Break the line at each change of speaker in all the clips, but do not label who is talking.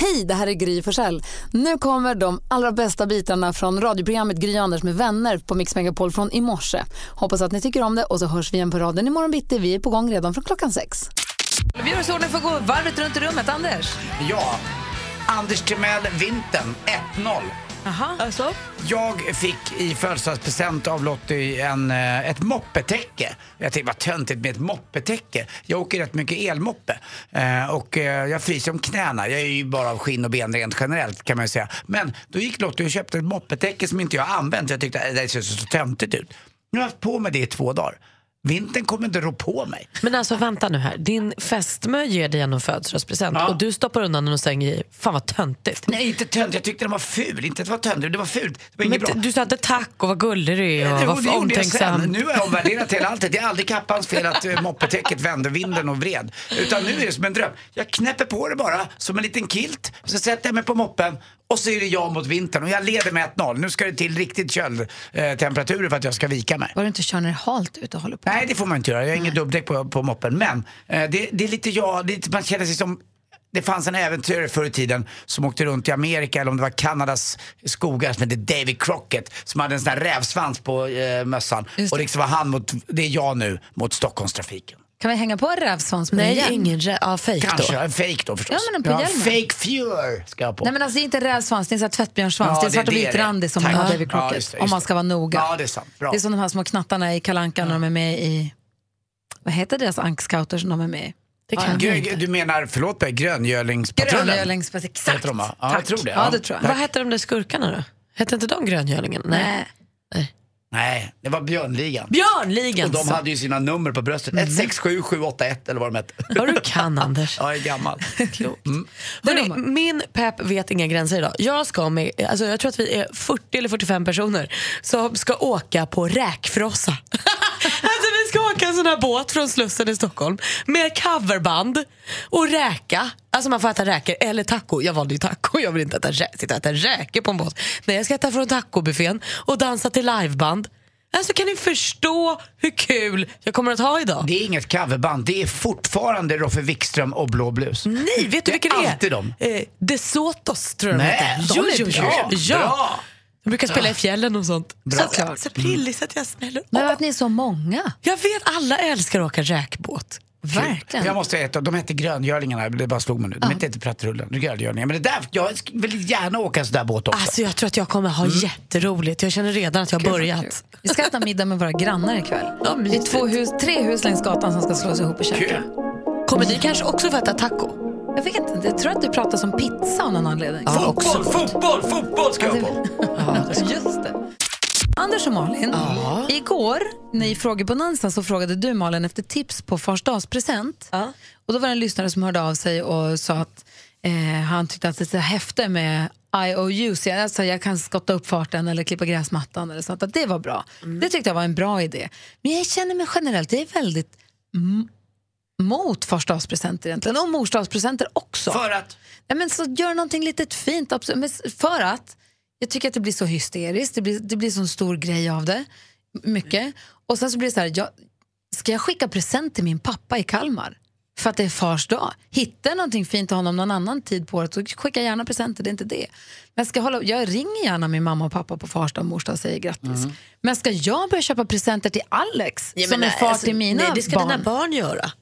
Hej, det här är Gry Forssell. Nu kommer de allra bästa bitarna från radioprogrammet Gry Anders med vänner på Mix Megapol från i morse. Hoppas att ni tycker om det och så hörs vi igen på raden imorgon bitti. Vi är på gång redan från klockan sex.
Alltså, Vi gör oss i ordning för att gå varvet runt i rummet. Anders?
Ja, Anders Timell, vintern, 1-0.
Aha. Alltså?
Jag fick i födelsedagspresent av Lottie en, eh, ett moppetäcke. Jag tänkte vad töntigt med ett moppetäcke. Jag åker rätt mycket elmoppe eh, och eh, jag fryser om knäna. Jag är ju bara av skinn och ben rent generellt kan man ju säga. Men då gick Lottie och köpte ett moppetäcke som inte jag har använt. Jag tyckte "Äh, det ser så töntigt ut. Nu har jag haft på mig det i två dagar. Vintern kommer inte rå på mig.
Men alltså vänta nu här, din fästmö ger dig en födelsedagspresent
Ja.
och du stoppar undan den och slänger i. Fan vad töntigt.
Nej, inte tönt. Jag tyckte den var ful. Inte att det var tönt, det var fult. Det var
Men
inget bra.
du- du sa inte tack och vad gullig du är och
Jo,
vad
det gjorde jag sen.
omtänksam.
Nu har jag omvärderat hela alltet. Det är aldrig Kappans fel att eh, moppetäcket vände vinden och vred. Utan nu är det som en dröm. Jag knäpper på det bara, som en liten kilt. Så sätter jag mig på moppen och så är det jag mot vintern. Och jag leder med 1-0. Nu ska det till riktigt köldtemperaturer för att jag ska vika mig.
Var du inte kör när det är halt ut och håller på?
Nej, det får man inte göra. Jag har inget dubbdäck på, på moppen. Men eh, det, det är lite jag, det är lite, man känner sig som det fanns en äventyrare förr i tiden som åkte runt i Amerika, eller om det var Kanadas skogar, som hette David Crockett, som hade en sån här rävsvans på eh, mössan.
Just det.
Och liksom var han mot, det är jag nu, mot Stockholmstrafiken.
Kan vi hänga på en rävsvans på din
Nej,
hjälm?
ingen rä- ja, fejk då.
Kanske, en fake då förstås.
Ja, men den på hjälmen.
fake fear ska jag ha på.
Nej men alltså det är inte rävsvans, det är en sån här tvättbjörnssvans.
Ja,
det är
det-
svart och
det är
vit
det.
randig som
Tack.
på
Ja.
David Crockett.
Ja, just det,
om
just
man
det.
ska vara noga.
Ja, det är sant. Bra.
Det är som de här små knattarna i Kalle Anka när de är med i, vad heter deras ankscouter som de är med i?
Det kan jag
Grö-
inte.
du menar, förlåt mig, Gröngölingspatruller?
Grönölings... Exakt!
Heter de, va? Ja, jag
Tack.
tror det,
Ja,
ja.
det tror jag.
Vad hette de där skurkarna då? Hette inte de Gröngölingen? Nej.
Nej, det var Björnligan.
Björnligan!
Och de hade ju sina nummer på bröstet. 167781 eller vad de hette.
Vad Mm. du kan Anders.
Jag är gammal. Mm.
Klokt. Hörrni, min pepp vet inga gränser idag. Jag, ska med, alltså jag tror att vi är 40 eller 45 personer som ska åka på räkfrossa. alltså vi ska åka en sån här båt från Slussen i Stockholm med coverband och räka. Alltså man får äta räkor eller taco. Jag valde ju taco. Jag vill inte äta, rä- sitta och äta räkor på en båt. Nej, jag ska äta från tacobuffén och dansa till liveband. Alltså kan ni förstå hur kul jag kommer att ha idag?
Det är inget coverband, det är fortfarande Roffe Wikström och Blå blus.
Nej, vet du vilka det är?
alltid dem.
Eh, Desotos tror jag de
Nej,
heter.
de är bra.
Ja. Mm.
Bra.
De brukar spela i fjällen och sånt.
Bra.
Så att jag är så prillig så att jag smäller
Men
av.
att ni är så många.
Jag vet, alla älskar att åka räkbåt.
Verkligen.
Jag måste äta, de hette Gröngölingarna, det bara slog mig nu. De hette inte Prattrullen, Gröngölingar. Men det där, jag sk- vill gärna åka en sån där båt också.
Alltså jag tror att jag kommer ha jätteroligt. Jag känner redan att jag har börjat.
Vi ska äta middag med våra grannar ikväll.
Ja,
Det är två hus, tre hus längs gatan som ska slås ihop och käka.
Kul.
Kommer ni kanske också få äta taco?
Jag vet inte, jag tror att du pratar som pizza av någon anledning.
Ja,
Fotboll, fotboll, fotboll ska jag på.
alltså, Just det. Anders och Malin, igår när i frågebonanza så frågade du Malin efter tips på fars dagspresent.
Ja.
Och då var det en lyssnare som hörde av sig och sa att eh, han tyckte att det där häfte med IOUs, jag- alltså jag kan skotta upp farten eller klippa gräsmattan eller sånt, att det var bra.
Mm.
Det tyckte jag var en bra idé. Men jag känner mig generellt, jag är väldigt m- mot fars dagspresenter egentligen, och mors dagspresenter också.
För att?
Nej, men så gör någonting litet fint. absolut. Men s- för att jag tycker att det blir så hysteriskt, det blir, det blir så en stor grej av det. Mycket. Och sen så blir det så här, jag, ska jag skicka present till min pappa i Kalmar? För att det är fars dag. Hittar jag någonting fint till honom någon annan tid på året så skicka gärna presenter, det är inte det. Men ska jag, hålla, jag ringer gärna min mamma och pappa på fars dag och mors dag och säger grattis.
Mm.
Men ska jag börja köpa presenter till Alex som är far till mina
alltså, nej, det ska
barn?
dina barn göra.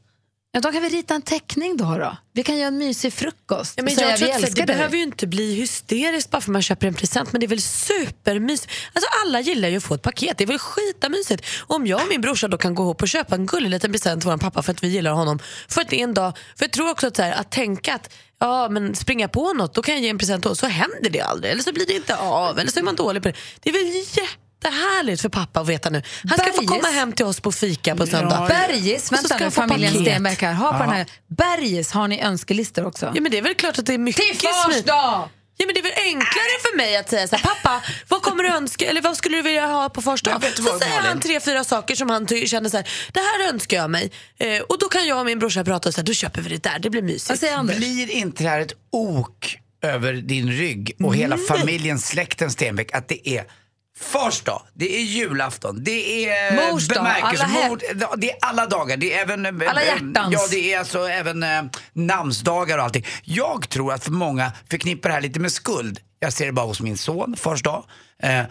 Ja, då kan vi rita en teckning då. då. Vi kan göra en mysig frukost.
Ja,
och
men
säga,
jag tror
vi
att så här,
älskar
det
dig.
behöver ju inte bli hysteriskt bara för man köper en present men det är väl supermysigt. Alltså alla gillar ju att få ett paket, det är väl skitamysigt. Om jag och min brorsa då kan gå ihop och köpa en gullig liten present till vår pappa för att vi gillar honom. För att det är en dag, för jag tror också att, så här, att tänka att ja, men springa på något, då kan jag ge en present och så händer det aldrig. Eller så blir det inte av, eller så är man dålig på det. Det är väl jättehärligt för pappa att veta nu. Han ska få
Bergis.
komma hem till oss på fika på söndag.
Bergis,
Och så
vänta
ska
nu,
jag få
familjen
paket.
Stenbeck här. Ha på den här. Bergis, har ni önskelistor också?
Ja, men det är väl klart att det är mycket
Till fars
smidigt.
dag!
Ja, men det är väl enklare för mig att säga så här, pappa, vad kommer du önska, eller vad skulle du vilja ha på första dag?
Men vet du
Så
vad,
säger han
Malin?
tre, fyra saker som han ty- känner så här, det här önskar jag mig. Eh, och då kan jag och min brorsa prata och säga, då köper vi det där, det blir mysigt.
Vad säger Anders?
Blir inte det här ett ok över din rygg och hela familjen, släkten Stenbeck att det är Fars dag, det är julafton, det är
Mors dag, alla hel-
bemärkelsemord, det är alla dagar. Det är även, eh,
Alla
eh,
hjärtans.
Ja, det är alltså även eh, namnsdagar och allting. Jag tror att för många förknippar det här lite med skuld. Jag ser det bara hos min son, fars dag. Eh,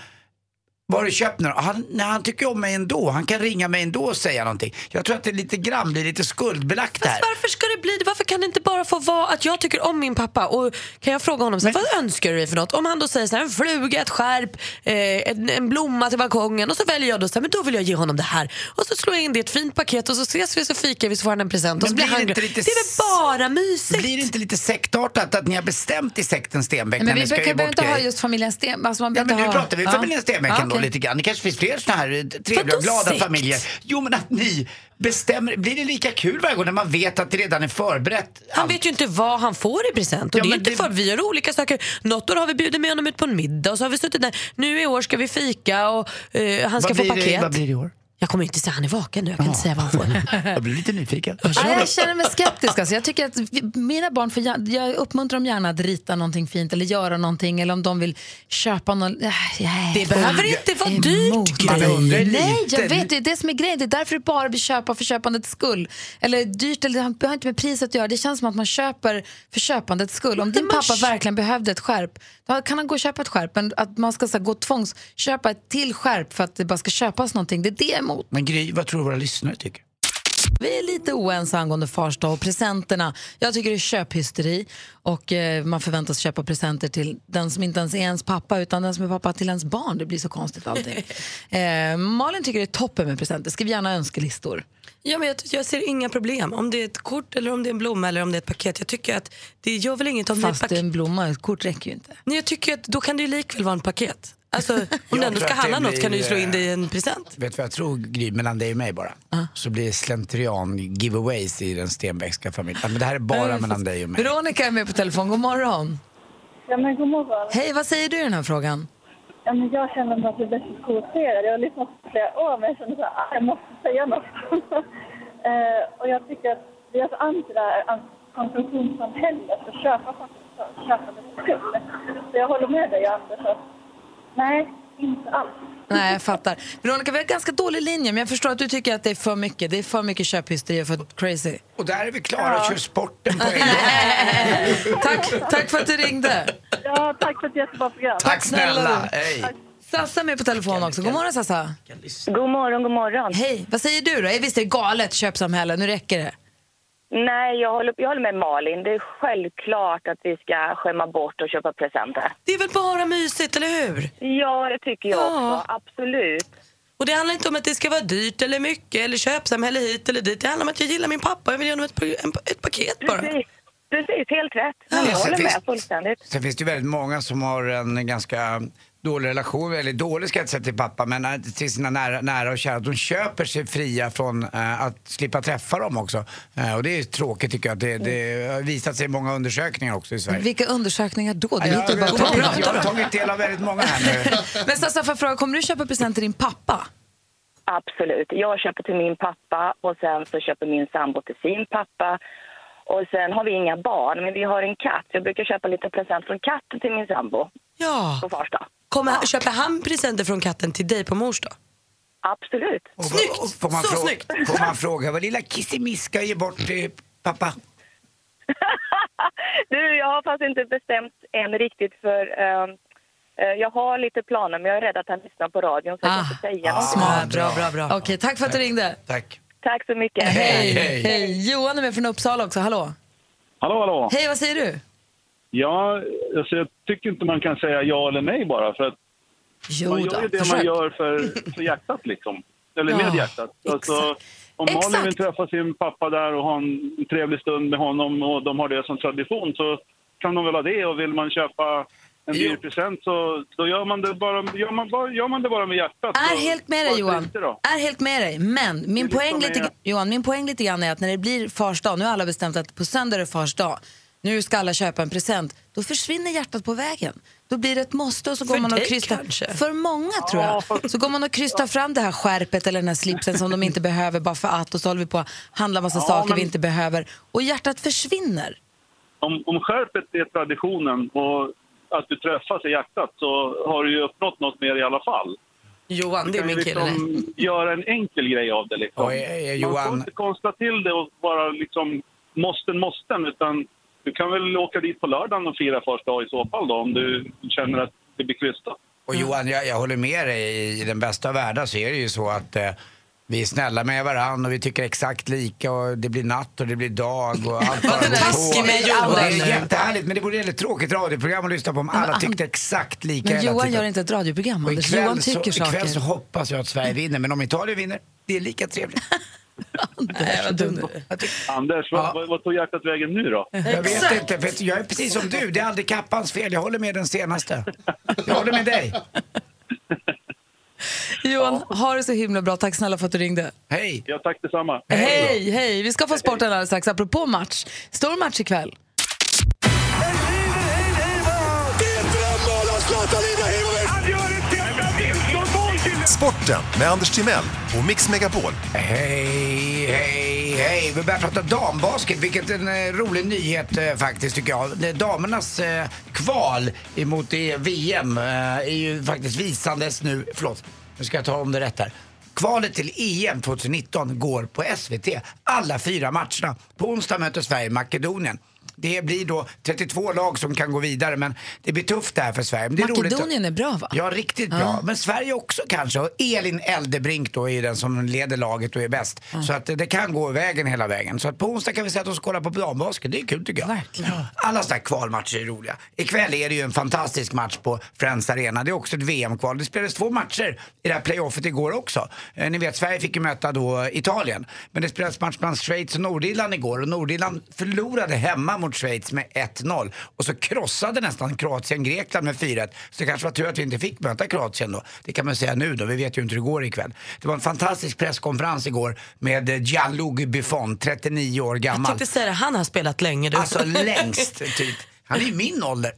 vad har du köpt nu då? han, nej, han tycker om mig ändå, han kan ringa mig ändå och säga någonting. Jag tror att det lite grann blir lite skuldbelagt här.
Fast Alltså, varför ska det bli det? Varför kan det inte bara få vara att jag tycker om min pappa och kan jag fråga honom så här,
Men-
vad önskar du dig för något? Om han då säger så här, en fluga, ett skärp, eh, en, en blomma till balkongen och så väljer jag då så här, men då vill jag ge honom det här. Och så slår jag in det i ett fint paket och så ses vi så fikar vi så får han en present
Men
och så blir
blir det
han
inte
glad.
lite
Det är väl bara mysigt?
Blir det inte lite sektartat att ni har bestämt i sekten Stenbeck
Men
när
vi
ni ska ge
behöver
bort
inte ha
grejer?
just familjen Sten. Alltså man
Ja, men nu
ha...
pratar vi
Ja.
familjen Stenbeck
Ja,
ändå
okej.
lite grann. Det kanske finns fler såna här eh, trevliga
Vadå
och glada
sekt?
familjer. Jo men att ni bestämmer. Blir det lika kul varje gång när man vet att det redan är förberett?
Han vet ju inte vad han får i present. Och
Ja,
det är
men
inte
det-
för, vi gör olika saker. Något år har vi bjudit med honom ut på en middag och så har vi suttit där. Nu i år ska vi fika och eh, han ska
Vad
få
blir det-
paket.
Vad blir det i år?
Jag kommer inte säga, han är vaken nu. Jag kan inte säga vad han får.
Jag blir lite nyfiken.
Ja, jag känner mig skeptisk. Alltså. Jag tycker att vi, mina barn får, gär- jag uppmuntrar dem gärna att rita någonting fint eller göra någonting eller om de vill köpa någon... Äh, jag
Det
är
behöver inte vara dyrt
emot
Man
grej.
undrar lite.
Nej, jag vet det är det som är grejen. Det är därför det bara blir köpa för köpandets skull. Eller dyrt, eller det har inte med priset att göra. Det känns som att man köper för köpandets skull. Om din
man
pappa
kö-
verkligen behövde ett skärp, då kan han gå och köpa ett skärp. Men att man ska så här, gå och tvångsköpa ett till skärp för att det bara ska köpas någonting, det är det jag är emot.
Men Gry, vad tror du våra lyssnare tycker?
Vi är lite oense angående Fars dag och presenterna. Jag tycker det är köphysteri och eh, man förväntas köpa presenter till den som inte ens är ens pappa utan den som är pappa till ens barn. Det blir så konstigt allting. eh, Malin tycker det är toppen med presenter. Skriv gärna önskelistor.
Ja, men jag, ty- jag ser inga problem. Om det är ett kort, eller om det är en blomma eller om det är ett paket. Jag tycker att det gör väl inget om det är ett
Fast
paket.
en blomma, ett kort räcker ju inte.
Nej, jag tycker att då kan det ju likväl vara en paket. Alltså, om du
tror
ändå ska
att det
handla något kan du ju
blir, eh,
slå in det i en present.
Vet du vad jag tror Gry, mellan dig och mig bara? Så blir det slentrian giveaways i den Stenbeckska familjen. Ja, Men det här är bara mellan dig och mig.
Veronica är med på telefon. God morgon.
Ja, men god morgon.
Hej, vad säger du i den här frågan?
Ja, men jag känner mig att det blir så provocerad. Jag har lyssnat på flera år, men jag känner så här, "Ah, jag måste säga något. eh, och jag tycker att vi är så anti det här an- konsumtionssamhället och köpa för köpa för skull. Så jag håller med dig, Anders. Att, nej, inte alls.
Nej, jag fattar. Veronica, vi har ganska dålig linje, men jag förstår att du tycker att det är för mycket. Det är för mycket köphysteri och för crazy.
Och där är vi klara och kör sporten på en gång.
Tack, tack för att du ringde.
Ja, tack för ett jättebra program.
Tack snälla!
snälla.
Hej!
Sassa är med på telefon också. God morgon Sassa.
God morgon, god morgon.
Hej, vad säger du då? Eh, Visst det är galet köpsamhälle, nu räcker det.
Nej, jag håller, jag håller med Malin. Det är självklart att vi ska skämma bort och köpa presenter.
Det är väl bara mysigt, eller hur?
Ja, det tycker jag också. Absolut.
Och det handlar inte om att det ska vara dyrt eller mycket eller köpsamhälle hit eller dit. Det handlar om att jag gillar min pappa och jag vill ge honom ett, pa- en, pa- ett paket bara.
Precis, precis helt rätt. Men jag
Alltså,
håller med
visst.
fullständigt.
Sen finns det ju väldigt många som har en ganska dålig relation, eller dålig ska jag inte säga till pappa, men eh, till sina nära, nära och kära. De köper sig fria från eh, att slippa träffa dem också. Eh, och det är tråkigt tycker jag. Det, det har visat sig i många undersökningar också i Sverige.
Vilka undersökningar då? Det
jag,
låter
jag,
ju bara
jag, jag,
tomt.
jag har tagit del av väldigt många här nu.
Men Sassa, får jag fråga, kommer du köpa present till din pappa?
Absolut. Jag köper till min pappa och sen så köper min sambo till sin pappa. Och sen har vi inga barn, men vi har en katt. Jag brukar köpa lite present från katten till min sambo
Ja.
på fars dag.
Kommer, köper han presenter från katten till dig på mors dag?
Absolut.
Och,
Snyggt!
får man
Så
fråga,
snyggt!
Får man fråga vad lilla Kissemiss ska ge bort till pappa?
Du, jag har fast inte bestämt än riktigt för eh, eh, jag har lite planer men jag är rädd att han lyssnar på radion så jag kan inte säga något.
Ah. smart.
bra, bra,
Okej, tack för att du ringde.
Tack.
Tack så mycket.
Hej.
Hej.
Hej. Johan är med från Uppsala också, hallå.
Hallå, hallå.
Hej, vad säger du?
Ja, alltså jag tycker inte man kan säga ja eller nej bara. För att
Jo
man gör ju det
försök.
man gör för, för hjärtat, liksom. Eller
Ja,
med hjärtat. Alltså, om Malin
Exakt.
vill träffa sin pappa där och ha en trevlig stund med honom och de har det som tradition så kan de väl ha det. Och vill man köpa en dyr present så då gör man det bara, gör man bara, gör man det bara med hjärtat.
Är
Så-
helt med dig
varför
Johan.
inte då?
Är helt med dig. Men min
liksom
poäng, lite,
är-
Johan, min poäng lite grann är att när det blir fars dag, nu har alla bestämt att på söndag är det fars dag. nu ska alla köpa en present, då försvinner hjärtat på vägen. Då blir det ett måste och så går
För
man och
dig
krystar.
kanske?
För många tror
Ja,
jag.
fast-
Så går man och krystar fram det här skärpet eller den här slipsen som de inte behöver bara för att och så håller vi på att handla massa
Ja,
saker vi
men-
inte behöver och hjärtat försvinner.
om, om skärpet är traditionen och att du träffas i hjärtat så har du ju uppnått något mer i alla fall.
Johan, det är
Kan du
min kille.
liksom
det.
göra en enkel grej av det liksom.
Oj, oj, oj,
Man får
Johan.
inte konstla till det och bara liksom måsten, måsten utan du kan väl åka dit på lördagen och fira första dag i så fall då om du känner att det blir krystat.
Och
Mm.
Johan, jag, jag håller med dig. I den bästa av världar så är det ju så att eh, vi är snälla med varandra och vi tycker exakt lika och det blir natt och det blir dag och allt bara
den
går på.
där taskig med Johan
Och Det är
nu.
jättehärligt men det vore ett väldigt tråkigt radioprogram att lyssna på om alla tyckte exakt lika
ah, Men
hela
Johan
tiden.
gör inte ett radioprogram,
Och
Anders.
ikväll
Johan
så-
tycker
Ikväll så
saker.
hoppas jag att Sverige vinner men om Italien vinner, det är lika trevligt.
Nej, vad dum du är.
Anders, vad, vad, vad tog hjärtat vägen nu då?
Jag vet inte, för att jag är precis som du. Det är aldrig Kappans fel. Jag håller med den senaste. Jag håller med dig.
Johan, ha det så himla bra. Tack snälla för att du ringde.
Hej!
Ja, tack detsamma.
Hej, hej! Vi ska få sporten alldeles strax. Apropå match, stor match ikväll.
Sporten med Anders Timell och Mix Megapol.
Hej, hej, hej. Vi börjar prata dambasket, vilket en eh, rolig nyhet eh, faktiskt tycker jag. Det- Damernas eh, kval emot det VM eh, är ju faktiskt visandes nu. Förlåt, nu ska jag ta om det rätt här. Kvalet till E EM 2019 går på SVT. Alla fyra matcherna. På onsdag möter Sverige Makedonien. Det blir då 32 lag som kan gå vidare men det blir tufft där för Sverige. Men det är roligt att-
Makedonien är bra, va?
Ja, riktigt bra. Men Sverige också kanske. Och Elin Eldebrink då är ju den som leder laget och är bäst. Så att det- det kan gå vägen hela vägen. Så att på onsdag kan vi sätta oss och kolla på damvasket. Det är kul tycker jag. Verkligen. Alla sådana här kvalmatcher är roliga. Ikväll är det ju en fantastisk match på Friends Arena. Det är också ett VM-kval. Det spelades två matcher i det här playoffet igår också. Eh, ni vet, Sverige fick ju möta då Italien. Men det spelades match mellan Schweiz och Nordirland igår och Nordirland förlorade hemma mot Schweiz med 1-0 och så krossade nästan Kroatien Grekland med 4-1. Så det kanske var tur att vi inte fick möta Kroatien då. Det kan man säga nu då, vi vet ju inte hur det går ikväll. Det var en fantastisk presskonferens igår med eh, Gianluigi Buffon, 39 år
Jag
gammal.
tänkte säga det, han har spelat länge du.
Alltså längst typ. Han är ju min ålder.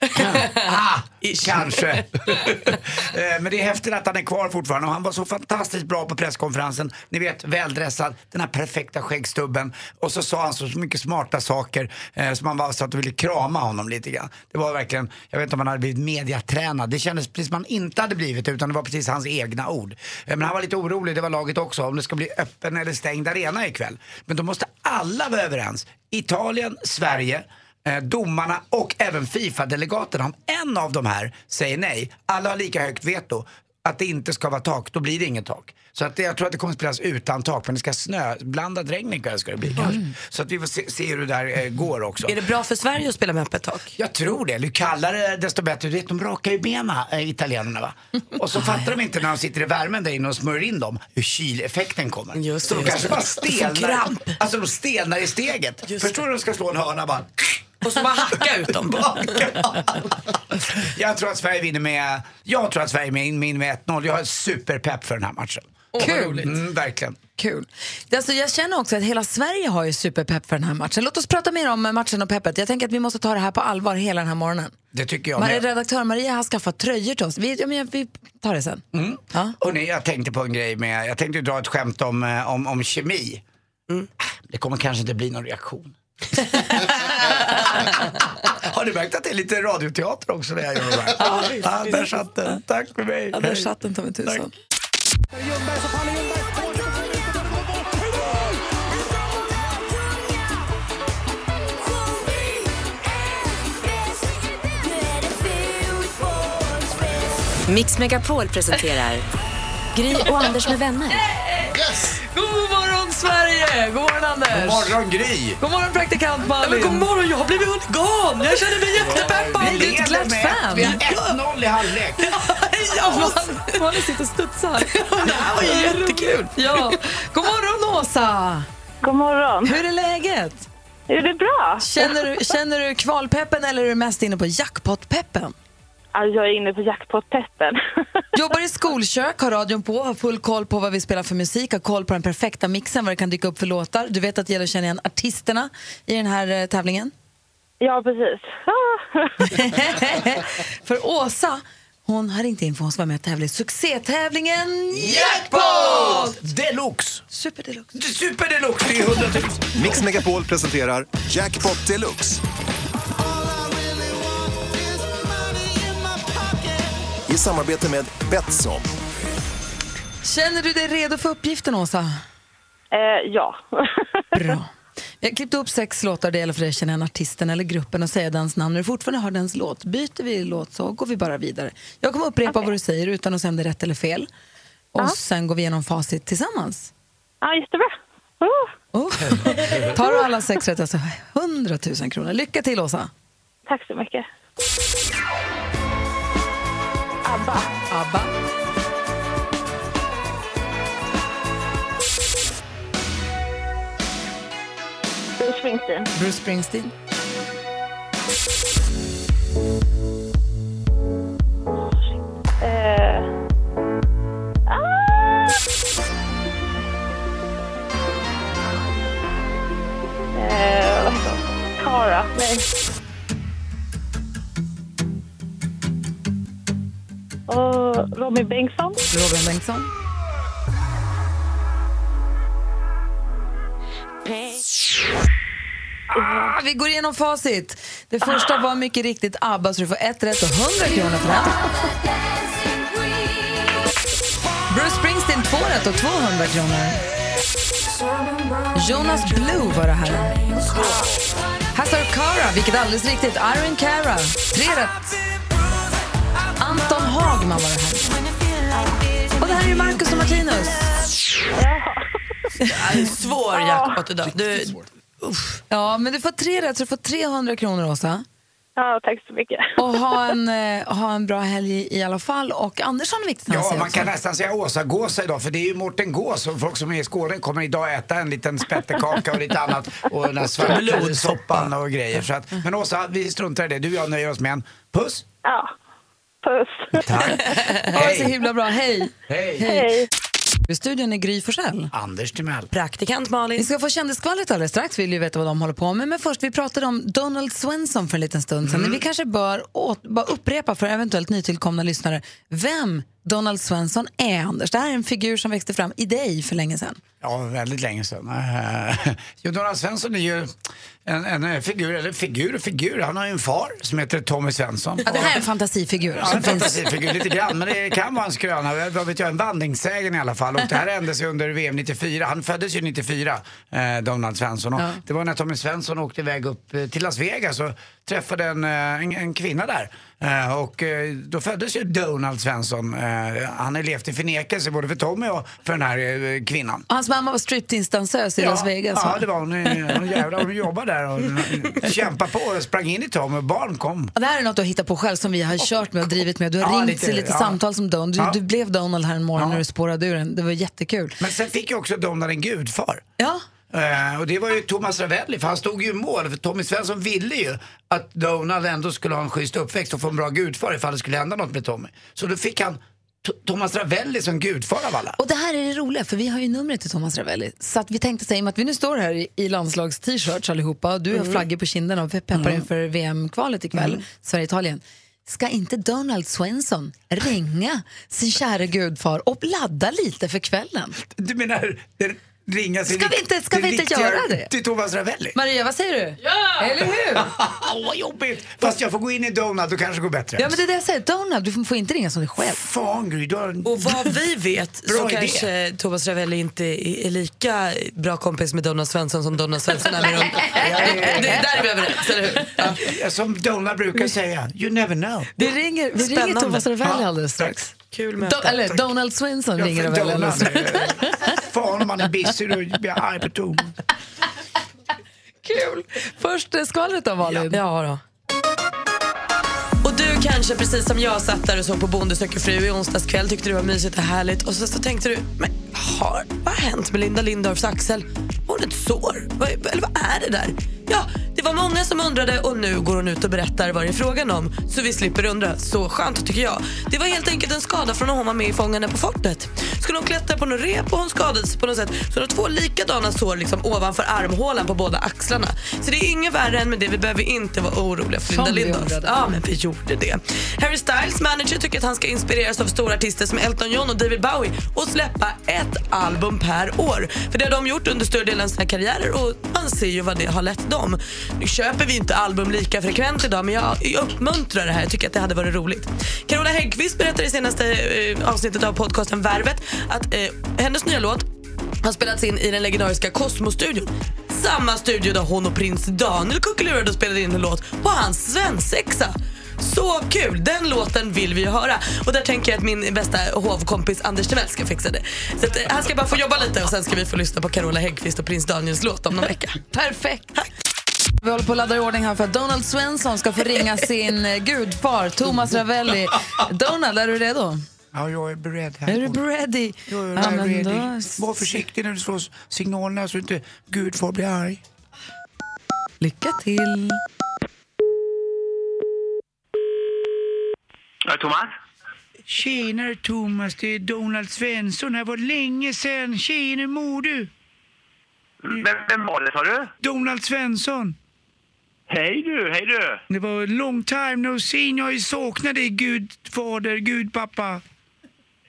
ah, kanske. Eh, Men det är häftigt att han är kvar fortfarande och han var så fantastiskt bra på presskonferensen. Ni vet, väldressad, den här perfekta skäggstubben. Och så sa han så mycket smarta saker eh, som man var så att du ville krama honom lite grann. Det var verkligen, jag vet inte om han hade blivit mediatränad. Det kändes precis som han inte hade blivit utan det var precis hans egna ord. Eh, Men han var lite orolig, det var laget också, om det ska bli öppen eller stängd arena ikväll. Men då måste alla vara överens. Italien, Sverige, eh, domarna och även Fifa-delegaterna. Om en av de här säger nej, alla har lika högt veto, att det inte ska vara tak, då blir det inget tak. Så att det, jag tror att det kommer spelas utan tak, men det ska snöblandad regn ikväll ska det bli kanske. Så att vi får se, se hur det där eh, går också.
Är det bra för Sverige att spela med öppet tak?
Jag tror det. Ju kallare desto bättre. Du vet, de rakar ju benen, eh, italienarna va? Och så fattar de inte när de sitter i värmen där inne och smörjer in dem hur kyleffekten kommer.
Just
så
det,
de
just
kanske
det.
bara
Får
stelnar.
kramp.
Alltså de stelnar i steget. Förstår du när de ska slå en hörna bara?
Och så bara hacka ut dem.
Baka. jag tror att Sverige vinner med, jag tror att Sverige vinner med, med 1-0. Jag är superpepp för den här matchen.
Kul!
Mm, verkligen.
Kul. Alltså, jag känner också att hela Sverige har ju superpepp för den här matchen. Låt oss prata mer om eh, matchen och peppet. Jag tänker att vi måste ta det här på allvar hela den här morgonen.
Det tycker jag.
Mar-
med.
Redaktör Maria har skaffat tröjor till oss. Vi, ja, men, vi tar det sen. Ja.
Och nej, jag tänkte på en grej med, jag tänkte dra ett skämt om, eh, om, om kemi. Ah, Det kommer kanske inte bli någon reaktion. Har du märkt att det är lite radioteater också när jag gör det här? Ja, där satt den. Tack för mig.
Ja, där satt den ta mig tusan.
Mix Megapol presenterar Gry och Anders med vänner.
God morgon Sverige! God morgon Anders!
Morgon Gry.
God morgon praktikant Malin!
Men god morgon, jag har blivit huligan! Jag känner mig jättepeppad!
Vi är ett glatt
med
fan.
ett- vi har 1-0 i halvlek.
Ja, man, man sitter och studsar. Det här var jättekul. Ja. God morgon, Åsa!
God morgon.
Hur är läget?
Är det bra?
Känner du, känner du kvalpeppen eller är du mest inne på jackpotpeppen?
Alltså, jag är inne på jackpot-peppen.
Jobbar i skolkök, har radion på, har full koll på vad vi spelar för musik, har koll på den perfekta mixen, vad det kan dyka upp för låtar. Du vet att det gäller att känna igen artisterna i den här eh, tävlingen.
Ja, precis.
För Åsa, hon har ringt in för hon ska vara med och tävla i succétävlingen
Jackpot! Deluxe!
Super deluxe.
Super deluxe, det är 100 000.
Mix Megapol presenterar Jackpot Deluxe. I samarbete med Betsson.
Känner du dig redo för uppgiften, Åsa?
Eh, ja.
Bra. Jag klippte upp sex låtar, det gäller för dig att känna igen artisten eller gruppen och säga dens namn. När du fortfarande hör dens låt, byter vi låt så går vi bara vidare. Jag kommer upprepa vad du säger utan att säga om det är rätt eller fel. Och sen går vi igenom facit tillsammans.
Ja, jättebra.
Oh. Tar du alla sex rätt, alltså 100 000 kronor. Lycka till, Åsa.
Tack så mycket.
ABBA. ABBA.
Bruce Springsteen.
Bruce Springsteen.
Eh, ah! Eh, vad heter hon? Cara. Nej. Och Robin Bengtsson.
Robin Bengtsson. Ah, vi går igenom facit. Det första var mycket riktigt ABBA, så du får ett rätt och 100 kronor för den. Bruce Springsteen, två rätt och 200 kronor. Jonas Blue var det här. Hazar Kara, vilket är alldeles riktigt. Irene Cara, tre rätt. Anton Hagman var det här. Och det här är ju Marcus och Martinus.
Det är en svår jackpot idag. Du,
Ja, men du får tre rätt så du får 300 kronor, Åsa.
Ja, tack så mycket.
Och ha en, eh, ha en bra helg i- i alla fall. Och Anders har en viktig
Ja,
säga
man
också.
kan nästan säga Åsa-gåsa idag för det är ju Mårten Gås och folk som är i Skåne kommer idag äta en liten spettekaka och lite annat och den här svarta soppan och grejer. Så att, men Åsa, vi struntar i det. Du och jag nöjer oss med en puss.
Ja. Puss.
Tack.
Ha det så himla bra. Hej!
Hej.
I studion är Gry Forssell.
Anders Timell.
Praktikant Malin.
Vi ska få kändisskvallret alldeles strax. Vi vill ju veta vad de håller på med. Men först, vi pratade om Donald Swenson för en liten stund
Mm.
sedan. Vi kanske bör åt, bara upprepa för eventuellt nytillkomna lyssnare vem Donald Swenson är, Anders. Det här är en figur som växte fram i dig för länge sedan.
Ja, väldigt länge sedan. Eh, Jo, Donald Svensson är ju en, en eh, figur, eller figur och figur. Han har ju en far som heter Tommy Svensson.
Ja, det här är en fantasifigur. alltså.
Ja, en fantasifigur lite grann, men det kan vara en skröna. Vad vet jag, en vandringssägen i alla fall. Och det här hände sig under VM 94. Han föddes ju 94, eh, Donald Svensson. Och
Ja.
Det var när Tommy Svensson åkte iväg upp eh, till Las Vegas och träffade en, eh, en, en kvinna där. Eh, och eh, då föddes ju Donald Svensson. Eh, han har levt i förnekelse både för Tommy och för den här eh, kvinnan.
Och Hans mamma var striptease-dansös i Las Vegas.
Ja,
va?
det var hon. eh, Hon jävlar, hon jobbade där och kämpade på och sprang in i Tommy och barn kom.
Ja, det här är något du har hittat på själv som vi har kört med och drivit med. Du har
Ja,
ringt
lite,
till lite
ja.
samtal som Donald. Du,
Ja.
du blev Donald här en morgon när du spårade ur den. Det var jättekul.
Men sen fick ju också Donald en gudfar.
Ja.
Eh, och det var ju Thomas Ravelli, för han stod ju i mål. För Tommy Svensson ville ju att Donald ändå skulle ha en schysst uppväxt och få en bra gudfar ifall det skulle hända något med Tommy. Så då fick han T- Thomas Ravelli som gudfar av alla.
Och det här är det roliga, för vi har ju numret till Thomas Ravelli. Så att vi tänkte säga, i och med att vi nu står här i, i landslags-t-shirts allihopa och du har
Mm.
flaggor på kinderna och peppar
Mm.
inför VM-kvalet ikväll,
Mm.
Sverige-Italien. Ska inte Donald Svensson ringa sin kära gudfar och ladda lite för kvällen?
Du menar den ringa sin
Ska vi inte- ska
den
vi inte
riktiga-
göra det?
Till Thomas Ravelli.
Maria, vad säger du? Ja! Eller hur?
Vad jobbigt! Fast jag får gå in i Donald, då kanske det går bättre.
Ja, men det är det jag säger. Donald, du får inte ringa som dig själv.
Fan, Gry, du har...
Och vad vi vet
Bra
så
idé.
kanske Thomas Ravelli inte är är lika bra kompis med Donald Svensson som Donald Svensson är med dem. Det, där är vi överens, eller hur?
Ja, Som Donald brukar säga, you never know.
Vi ringer, vi ringer
Spännande.
Thomas Ravelli
Ja,
alldeles strax.
Kul
Do, eller Donald Svensson ringer Ravelli alldeles strax.
Fan om man är busy, då blir jag arg på Tom.
Kul! Först eh, skvallret då, Malin.
Ja, då. Och du kanske precis som jag satt där och såg på Bonde söker fru i onsdags kväll tyckte det var mysigt och härligt och så, så tänkte du, men har, vad har hänt med Linda Lindorffs axel? Har hon ett sår? Vad, eller vad är det där? ja, det var många som undrade och nu går hon ut och berättar vad det är frågan om så vi slipper undra. Så skönt tycker jag. Det var helt enkelt en skada från när hon var med i Fångarna på fortet. Skulle hon klättra på något rep och hon skadade sig på något sätt så hon har två likadana sår liksom ovanför armhålan på båda axlarna. Så det är inget värre än med det. Vi behöver inte vara oroliga för
Som
Linda
vi
Lindorff.
undrade.
Ja, men vi gjorde det. Harry Styles manager tycker att han ska inspireras av stora artister som Elton John och David Bowie och släppa ett album per år. För det har de gjort under större delen av sina karriärer och man ser ju vad det har lett dem. Nu köper vi inte album lika frekvent idag men jag jag uppmuntrar det här. Jag tycker att det hade varit roligt. Carola Häggkvist berättade i senaste eh, avsnittet av podcasten Värvet att eh, hennes nya låt har spelats in i den legendariska Cosmo-studion. Samma studio där hon och prins Daniel kuckelurade och spelade in en låt på hans svensexa. Så kul! Den låten vill vi ju höra. Och där tänker jag att min bästa hovkompis Anders Timell ska fixa det. Så att, eh, han ska bara få jobba lite och sen ska vi få lyssna på Carola Häggkvist och prins Daniels låt om någon vecka.
Perfekt. Vi håller på att ladda i ordning här för att Donald Svensson ska få ringa sin eh, gudfar Thomas Ravelli. Donald, är du redo?
Ja, jag är beredd här.
Är du ready?
Ja, jag
Ja,
är
men då-
ready. Var försiktig när du slår signalerna så inte Gud får bli arg.
Lycka till!
Thomas?
Tjenare Thomas, det är Donald Svensson här. Var länge sen. Tjena, hur mår du?
Vem, vem var det sa du?
Donald Svensson.
Hej du, hej du!
Det var long time no seen. Jag har ju saknat dig, gudfader, gudpappa.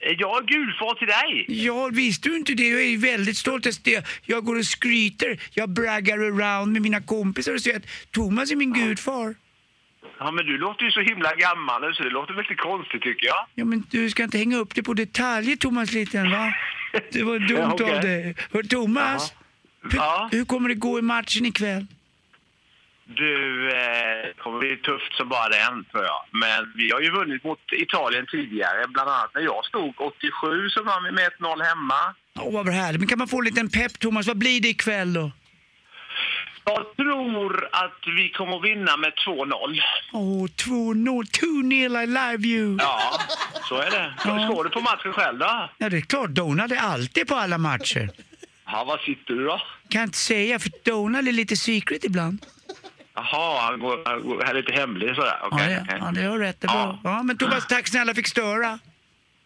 Eh, Jag är gulfar till dig!
Ja, visste du inte det? Jag är ju väldigt stolt. över det. Jag går och skryter, jag braggar around med mina kompisar och säger att Thomas är min gudfar.
Ja men du låter ju så himla gammal nu så det låter väl lite konstigt tycker jag.
Ja, men du ska inte hänga upp dig på detaljer, Thomas liten, va? Det var dumt
Ja, okej.
av dig. Hör, Thomas, hur, hur kommer det gå i matchen ikväll?
Du, eh, det kommer bli tufft som bara den tror jag. Men vi har ju vunnit mot Italien tidigare. Bland annat när jag stod 87 så vann vi med 1-0 hemma.
Åh, vad bra härligt. Men kan man få en liten pepp, Thomas? Vad blir det ikväll då?
Jag tror att vi kommer att vinna med 2-0.
Åh, 2-0. 2-0, I love you.
Ja, så är det.
Ja.
Slår du på matchen själv då?
Ja, det är klart. Donald är alltid på alla matcher.
Ja, var sitter du då?
Kan inte säga, för Donald är lite secret ibland.
Jaha, han, går, han går, här är lite hemlig sådär. Okej,
ja, det,
okej.
ja, det har du rätt. Det är bra. Ja, men Thomas, tack snälla fick störa.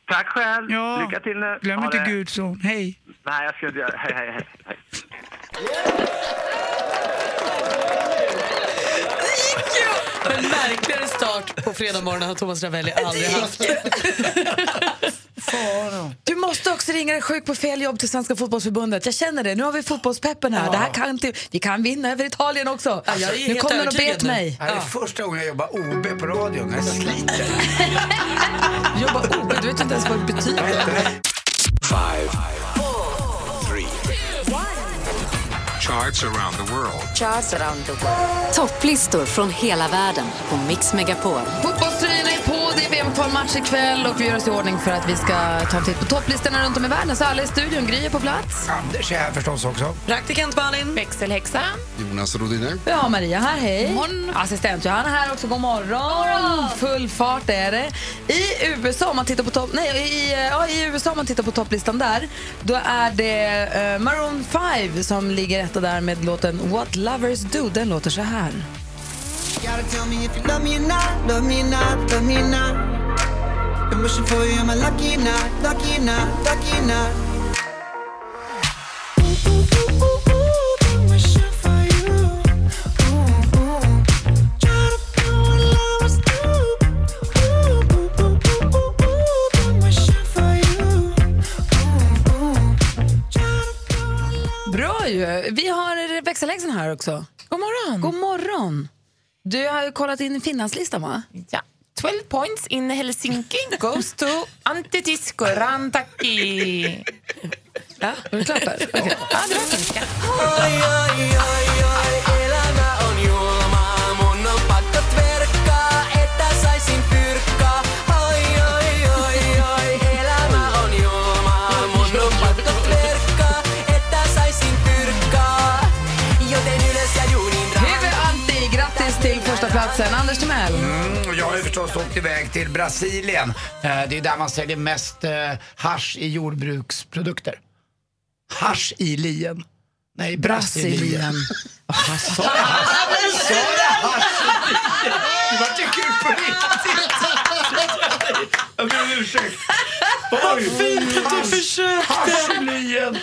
Tack själv.
Ja.
Lycka till nu.
Glöm
Ha
inte
det.
Gudson. Hej.
Nej, jag ska inte göra Hej, hej, hej, hej.
En märkligare start på fredagsmorgonen har Thomas Ravelli aldrig haft.
Du måste också ringa dig sjuk på fel jobb till Svenska fotbollsförbundet. Jag känner det. Nu har vi fotbollspeppen här. Det här kan inte, vi kan vinna över Italien också. nu kommer den och bet mig.
Det är första gången jag jobbar OB på radion. Jag sliter.
Jobba OB, du vet ju inte ens vad det betyder.
Five, three, charts around the world.
Topplistor från hela världen på Mix Megapol.
Fotbollströjorna är på, det är VM-kvalmatch ikväll och vi gör oss i ordning för att vi ska ta en titt på topplistorna runt om i världen. Så alla i studion, Gry är på plats.
Anders är här förstås också.
Praktikant Malin.
Växelhäxa.
Jonas Rodiner.
Vi har Maria här, hej. Assistent Johanna här också, god morgon. Full fart är det. I USA, om man tittar på topp... Nej, i, eh, ja, i USA om man tittar på topplistan där, då är det eh, Maroon 5 som ligger etta där med låten What Lovers Do. Den låter så här.
gotta tell me if you love me or not, love me or not, love me or not. Been wishing for you, am I lucky or not, lucky or not, lucky or not?
Bra ju. Vi har växelläxan här också. God morgon. God morgon. Du har ju kollat in Finlandslistan va?
Ja. 12 points in Helsinki goes to Antidisco Rantaki.
Ja, du klappar? Okay.
Ja, det var finska.
Hyvy Antti, grattis till första platsen. Anders Timell.
Mm, och jag har ju förstås åkt iväg till Brasilien. Eh, Det är där man säljer mest eh, hasch i jordbruksprodukter. Hasch i lien. Nej, Brasilien.
Sa jag hasch? Sa jag hasch? Det vart ju kul på riktigt. Jag ber om ursäkt. Vad fint att du försökte. Haschblyen.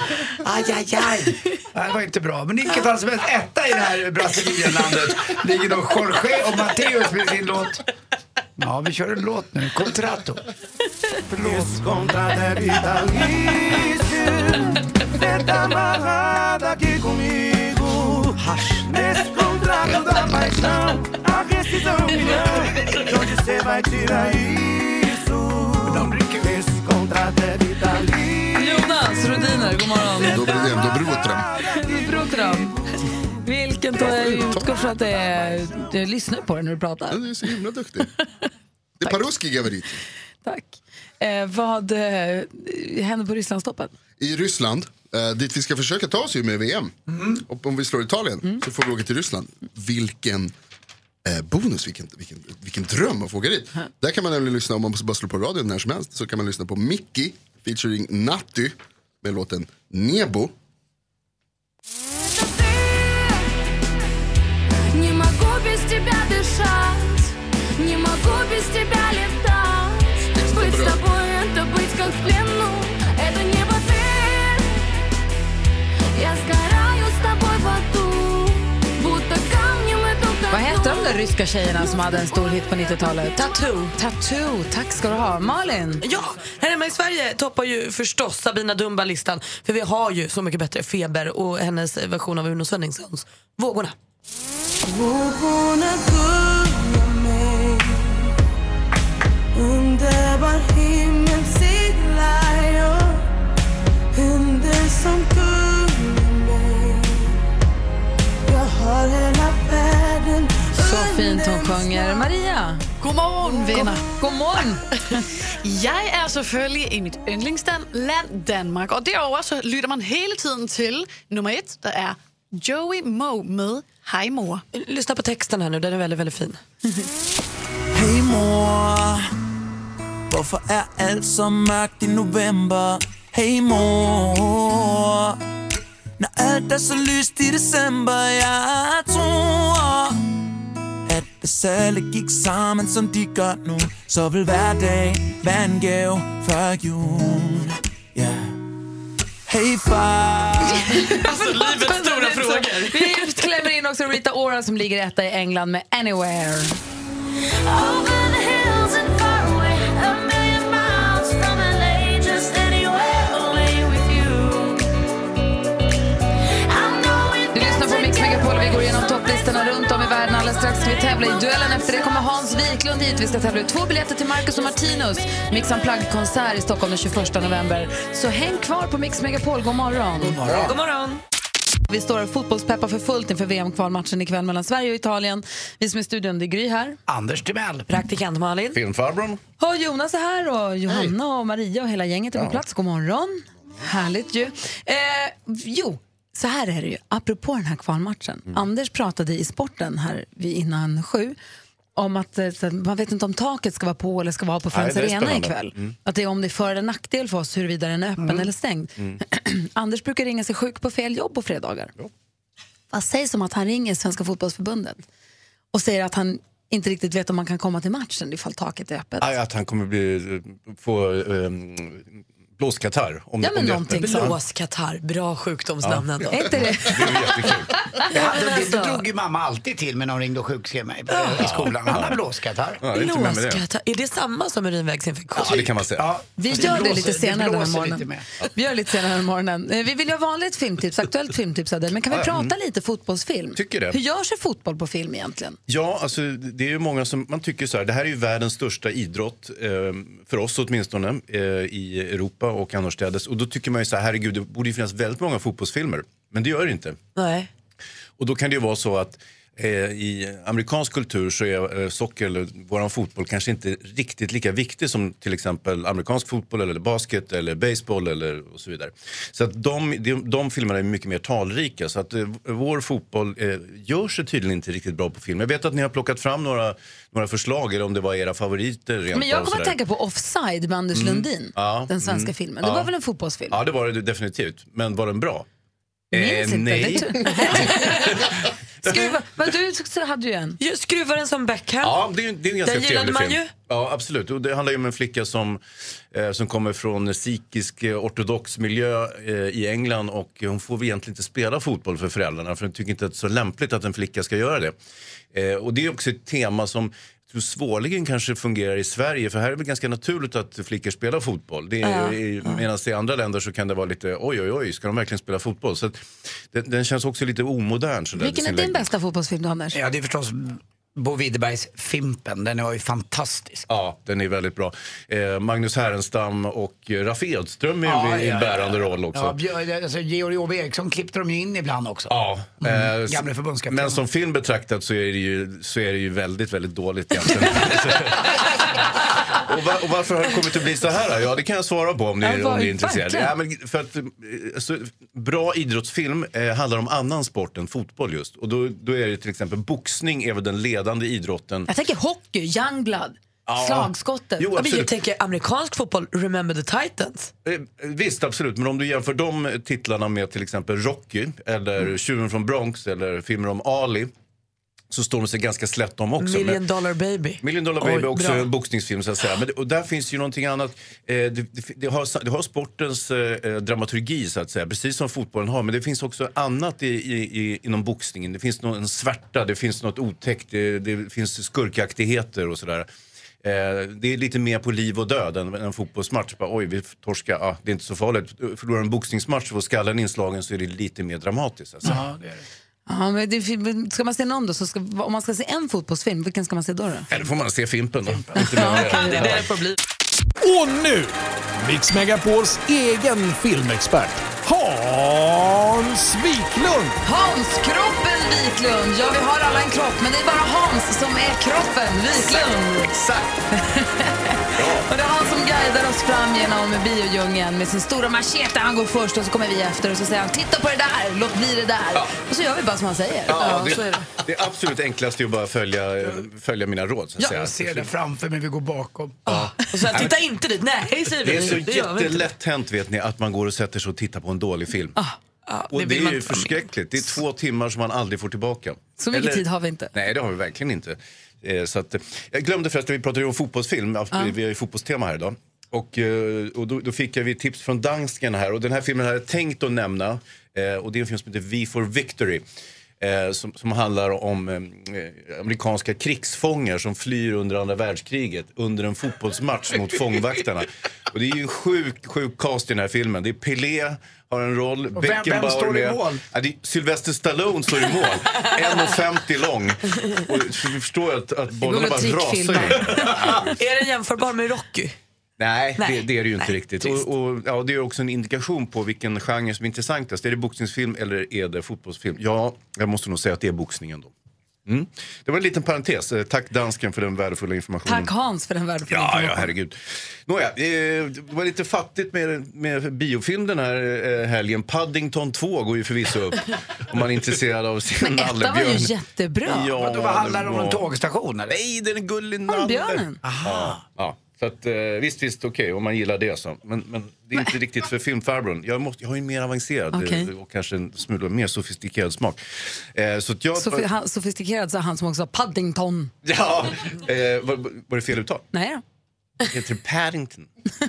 Aj, aj, aj. Nej, det var inte bra. Men vilket fall som helst, etta i det här Brasilienlandet ligger då Jorge och Matteus med sin låt. Ja, vi kör en låt nu. Contrato. Plus contra de vitalicio. Detta amarrada aqui comigo. Nesse contrato da paixão, a rescisão milhão. De onde você vai tirar isso? Não brinque. Esse contrato é vitalício.
Jonas Rhodiner, god morgon.
Добрый день, доброе утро.
Dobro Tram. Vilken ta jag utgår från att det är, jag lyssnar på dig när du pratar.
Du är så himla duktig. Det är по-русски говорит.
Tack. Eh, vad eh, hände på Rysslandstoppen?
I Ryssland, eh, dit vi ska försöka ta oss ju med VM.
Mm.
Och om vi slår Italien
Mm.
så får vi åka till Ryssland. Vilken eh, bonus, vilken, vilken, vilken dröm att få åka dit. Där kan man nämligen lyssna, om man bara slår på radion när som helst, så kan man lyssna på Mickey featuring Natty med låten Nebo.
Не могу без тебя дышать, не могу без тебя летать. Быть с тобой это быть как в плену, это небо ты. Я сгораю с тобой в аду, будто камнем иду к
Vad hette
дну.
de där ryska tjejerna som hade en stor hit på 90-talet? Tattoo. Tattoo, tack ska du ha. Malin?
Ja, här hemma i Sverige toppar ju förstås Sabina Dumba-listan. För vi har ju Så mycket bättre Feber och hennes version av Uno Svenningssons Vågorna.
Vågorna gungar mig Underbar himmel seglar jag Händer som gungar mig Jag har hela världen
Så fint hon sjunger. Maria?
God morgen, venner.
God morgen.
Jeg er selvfølgelig i mit yndlingsland, land Danmark. Og derover så lytter man hele tiden til nummer et, der er Joey Moe med Hej mor.
Lyssna på texten här nu, den är väldigt, väldigt fin.
Hej mor Hvorfor er alt så mørkt i november? Hej mor Når alt er så lyst i december Jeg tror At hvis alle gik sammen som de gør nu Så vil hver dag være en gave før jul Ja Hej far
Alltså livets stora frågor. Vi klämmer in också Rita Ora som ligger etta i England med Anywhere. Du lyssnar på Mix Megapol och vi går igenom topplistorna runt om i världen. Alldeles strax ska vi tävla i duellen. Efter det kommer Hans Wiklund hit. Vi ska tävla ut två biljetter till Marcus och Martinus. Mix Unplugged-konsert i Stockholm den 21 november. Så häng kvar på Mix Megapol. God morgon. God
morgon. God morgon.
Vi står och fotbollspeppar för fullt inför VM-kvalmatchen ikväll mellan Sverige och Italien. Vi som är i studion, det är Gry här.
Anders Timell.
Praktikant Malin.
Filmfarbrorn.
Och Jonas är här och Johanna och Maria och hela gänget är på plats. God morgon. Härligt ju. Eh, jo, så här är det ju. Apropå den här kvalmatchen.
Mm.
Anders pratade i sporten här vid innan sju om att eh, så att man vet inte om taket ska vara på eller ska vara på Friends
Nej, det är
Arena
spännande.
ikväll.
Mm.
Att det är om det är för eller nackdel för oss huruvida den är öppen
Mm.
eller stängd.
Mm.
Anders brukar ringa sig sjuk på fel jobb på fredagar. Vad sägs om att han ringer Svenska Fotbollsförbundet och säger att han inte riktigt vet om man kan komma till matchen ifall taket är öppet?
Nej, att han kommer bli, få um, blåskatarr. Om,
Ja
om
men
det-
någonting.
Ja.
Blåskatarr, bra sjukdomsnamn
Ja.
ändå.
Är inte det?
Det, hade,
alltså.
det drog ju mamma alltid till med när hon ringde och sjukskrev mig eh, i skolan. Han har blåskatarr.
Blåskatarr, är det samma som urinvägsinfektion?
Ja, det kan man säga. Ja.
Vi
Alltså,
Det
gör det
blåser-
lite senare
det
den
blåser
här
lite
morgonen.
mer.
Vi gör lite senare den här morgonen. Eh, Vi vill ju ha vanligt filmtips, aktuellt filmtips av dig. Men kan vi
Ja,
prata
mm.
lite fotbollsfilm?
Tycker det.
Hur gör sig fotboll på film egentligen?
Ja, alltså, det är ju många som, man tycker så här, det här är ju världens största idrott, eh, för oss åtminstone, eh, i Europa och annorstädes. Och då tycker man ju så här, herregud, det borde ju finnas väldigt många fotbollsfilmer. Men det gör det inte.
Nej.
Och då kan det ju vara så att eh, i amerikansk kultur så är eh, socker, eller vår fotboll, kanske inte riktigt lika viktig som till exempel amerikansk fotboll eller basket eller baseball eller och så vidare. Så att de, de, de filmerna är mycket mer talrika. Så att eh, vår fotboll eh, gör sig tydligen inte riktigt bra på film. Jag vet att ni har plockat fram några, några förslag, eller om det var era favoriter. rent
Men
av
jag
och
kommer att
sådär.
tänka på Offside med Anders
Mm.
Lundin.
Ja.
Den svenska
Mm.
filmen. Det
Ja.
var väl en fotbollsfilm?
Ja, det var det definitivt. Men var den bra?
Minns inte.
eh, nej.
Det tror- Skruva, men du så hade ju en.
Skruva den som Beckham.
Ja, det är, ju- det är ju en ganska
Den gillade
trevlig
man
film.
ju.
Ja, absolut. Och det handlar ju om en flicka som, eh, som kommer från sikhisk eh, ortodox miljö eh, i England och hon får väl egentligen inte spela fotboll för föräldrarna för de tycker inte att det är så lämpligt att en flicka ska göra det. Eh, och det är också ett tema som jag tror svårligen kanske fungerar i Sverige för här är det väl ganska naturligt att flickor spelar fotboll. Det är,
Ja.
i, medan i andra länder så kan det vara lite oj oj oj, ska de verkligen spela fotboll? Så att, den, den känns också lite omodern. Sådär, i
Vilken är
sin
din
läggning.
bästa fotbollsfilm då, Anders?
Ja, det är förstås Bo Widerbergs Fimpen. Den var ju fantastisk.
Ja, den är väldigt bra. Eh, Magnus Härenstam och eh, Raffe Edström är
Ja,
i en
ja,
bärande roll också.
Ja, Björ- alltså, Georg Åberg Eriksson klippte de ju in ibland också.
Ja,
Mm.
eh,
Gamle förbundskapten.
men som film betraktat så är det ju, så är det ju väldigt, väldigt dåligt egentligen. och, va- och varför har det kommit att bli så här då? Ja, det kan jag svara på om ni,
Ja, var-
om ni är intresserade.
verkligen.
Ja, men för att, eh, alltså, bra idrottsfilm eh, handlar om annan sport än fotboll just. Och då, då är det till exempel boxning är väl den ledande idrotten.
Jag tänker hockey, Youngblood,
Ja.
slagskottet. Ja,
Jo,
men
absolut.
jag tänker-
Tänker amerikansk fotboll, Remember the Titans.
Eh, Visst, absolut. Men om du jämför de titlarna med till exempel Rocky eller Tjuven från Bronx eller filmer om Ali så står de sig ganska slätt de också.
Million
Men-
Dollar Baby.
Million Dollar Baby
Oj,
är också
bra.
en boxningsfilm så att säga. Men det, och där finns ju någonting annat. Eh, det, det, det, har, sa- det har sportens eh, eh, dramaturgi så att säga, precis som fotbollen har. Men det finns också annat i, i, i, inom boxningen. Det finns nå- en svärta, det finns något otäckt, det, det finns skurkaktigheter och sådär. Eh, det är lite mer på liv och död än en fotbollsmatch. Bara, Oj, vi torskar. Ah, det är inte så farligt. Förlorar en boxningsmatch och får skallen inslagen så är det lite mer dramatiskt. Alltså.
Ja, men det, men ska man se någon då, så ska, om man ska se en fotbollsfilm, vilken ska man se då? då?
Eller får man se Fimpen då. Inte mer
Ja,
än det.
okej, det är
Ja.
det
det får
bli.
Och nu, Mix Megapols egen filmexpert, Hans Wiklund!
Hans Kroppen Wiklund! Ja, vi har alla en kropp, men det är bara Hans som är kroppen Wiklund. Exakt. och det är han som guidar oss fram genom biodjungeln med sin stora machete. Han går först och så kommer vi efter och så säger han titta på det där, låt bli det där. Och så gör vi bara som han säger.
Ja,
så är
det, det är absolut enklast är att bara följa, eh, följa mina råd. Så att
Ja,
säga.
jag ser det framför mig, vi går bakom.
Och så här, titta inte dit. Nej, säger vi.
Det är så
gör vi inte.
jättelätt hänt vet ni, att man går och sätter sig och tittar på en dålig film.
Ja,
och
Ah, det
det,
vill
är
man
ju
inte vara med.
förskräckligt. Det är två timmar som man aldrig får tillbaka.
Så mycket tid har vi inte.
Nej, det har vi verkligen inte. Eh, Så att, eh, jag glömde förresten, vi pratade ju om fotbollsfilm. Ja,
Ja.
Vi har ju fotbollstema här idag. Och, eh, och då, då fick jag ju tips från dansken här. Och den här filmen hade jag tänkt att nämna. Eh, Och det är en film som heter V for Victory. eh, Som, som handlar om eh, amerikanska krigsfångar som flyr under andra världskriget under en fotbollsmatch mot fångvaktarna. Och det är ju en sjuk, sjuk cast i den här filmen. Det är Pelé har en roll,
Och vem- vem
Beckenbauer
står i
med.
mål?
Ja, det är Sylvester Stallone står i mål. 1,50 lång. Och du förstår att, att bollarna bara rasar in.
Är den jämförbar med Rocky?
Nej,
Nej.
Det, det är det ju inte
Nej,
riktigt. Och, och, ja, det är också en indikation på vilken genre som är intressantast. Är det boxningsfilm eller är det fotbollsfilm? Ja, jag måste nog säga att det är boxningen då. Mm. Det var en liten parentes. Eh, Tack dansken för den värdefulla informationen.
Tack Hans för den värdefulla
Ja, ja,
informationen.
herregud. Nåja, eh, det var lite fattigt med, med biofilm den här eh, helgen. Paddington 2 går ju förvisso upp om man är intresserad av sin
Men ettan var ju
nallebjörn.
jättebra.
Ja,
Vadå, vad handlar det om?
var-
En tågstation eller?
Nej, den är gullig
Om björnen.
Ja, ja. Så att, eh, visst, visst, okej, om man gillar det så. Men, men det är inte riktigt för filmfarbrorn. Jag, måste, jag har ju en mer avancerad eh,
Okej.
och kanske en smula mer sofistikerad smak. Eh, så att jag...
Sofi- han, sofistikerad, sa han som också sa Paddington.
Ja, eh, var, var det fel uttal?
Nej då.
Heter det Paddington?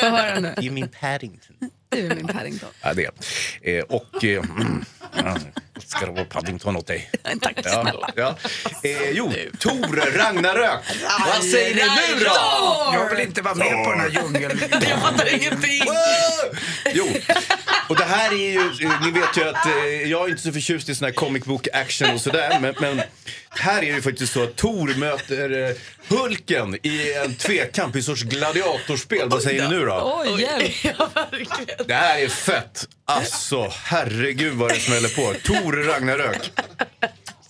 Få höra nu.
Give me Paddington.
Du är min Paddington.
Ja, det. Eh, och... Eh, mm, ja, ska det vara Paddington åt dig?
Tack
snälla. Ja, ja. Eh, jo, Tor Ragnarök. Vad säger ni nu då?
Jag vill inte vara med på den här djungeln.
Jag fattar ingenting.
Jo, och det här är ju, eh, ni vet ju att eh, jag är inte så förtjust i sån här comic book action och sådär. Men, men här är det ju faktiskt så att Thor möter eh, Hulken i en tvekamp i sorts gladiatorspel. Vad säger ni nu då?
Oj, hjälp.
Det här är fett. Alltså, herregud vad det smäller på. Thor Ragnarök.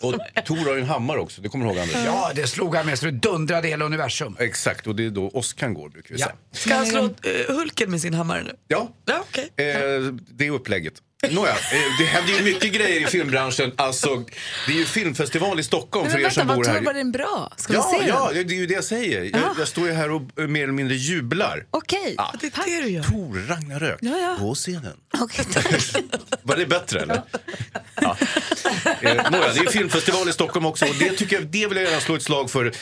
Och Thor har ju en hammare också, det kommer du ihåg Anders?
Ja, det slog han med så det dundrade hela universum.
Exakt, och det är då åskan går brukar vi säga.
Ska han slå eh, Hulken med sin hammare nu?
Ja,
Ja, okej.
eh, det är upplägget. Nåja, eh, det händer ju mycket grejer i filmbranschen. Alltså, det är ju filmfestival i Stockholm
Men
för er
vänta,
som
vad
bor
tror
här.
du var den bra? Ska
ja,
vi se
ja,
den?
det är ju det jag säger.
Ah.
Jag, jag står ju här och eh, mer eller mindre jublar.
Okej,
Ah,
det är det du gör.
Tor Ragnarök,
Ja, ja.
gå och se den.
Okej,
Var det bättre eller? Ja. Eh, Nåja, det är filmfestival i Stockholm också. Och det, tycker jag, det vill jag gärna slå ett slag för. Eh,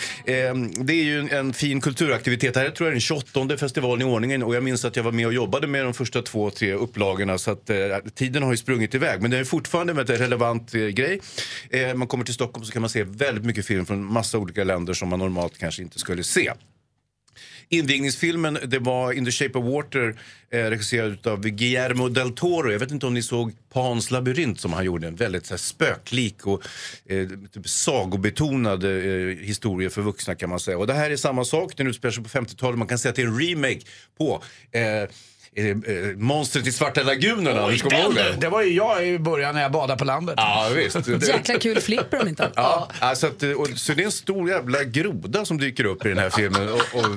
det är ju en, en fin kulturaktivitet. Det här tror jag är den 28 festivalen i ordningen. Och jag minns att jag var med och jobbade med de första två, tre upplagorna. Så att, eh, tiden har ju sprungit iväg. Men det är fortfarande en väldigt relevant eh, grej. Eh, man kommer till Stockholm så kan man se väldigt mycket film från massa olika länder som man normalt kanske inte skulle se. Invigningsfilmen det var In the shape of water eh, regisserad av Guillermo del Toro. Jag vet inte om ni såg Pans labyrint som han gjorde. En väldigt så här, spöklik och eh, typ sagobetonad eh, historia för vuxna kan man säga. Och det här är samma sak. Den utspelar sig på 50-talet. Man kan säga att det är en remake på eh, Eh, eh, monstret i Svarta lagunen, Anders. Kommer du ihåg
det,
det?
det var ju jag i början när jag badade på landet.
Ja, visst.
Jäkla kul flipper om inte annat.
Ja, alltså att, och, så det är en stor jävla groda som dyker upp i den här filmen. Och, och,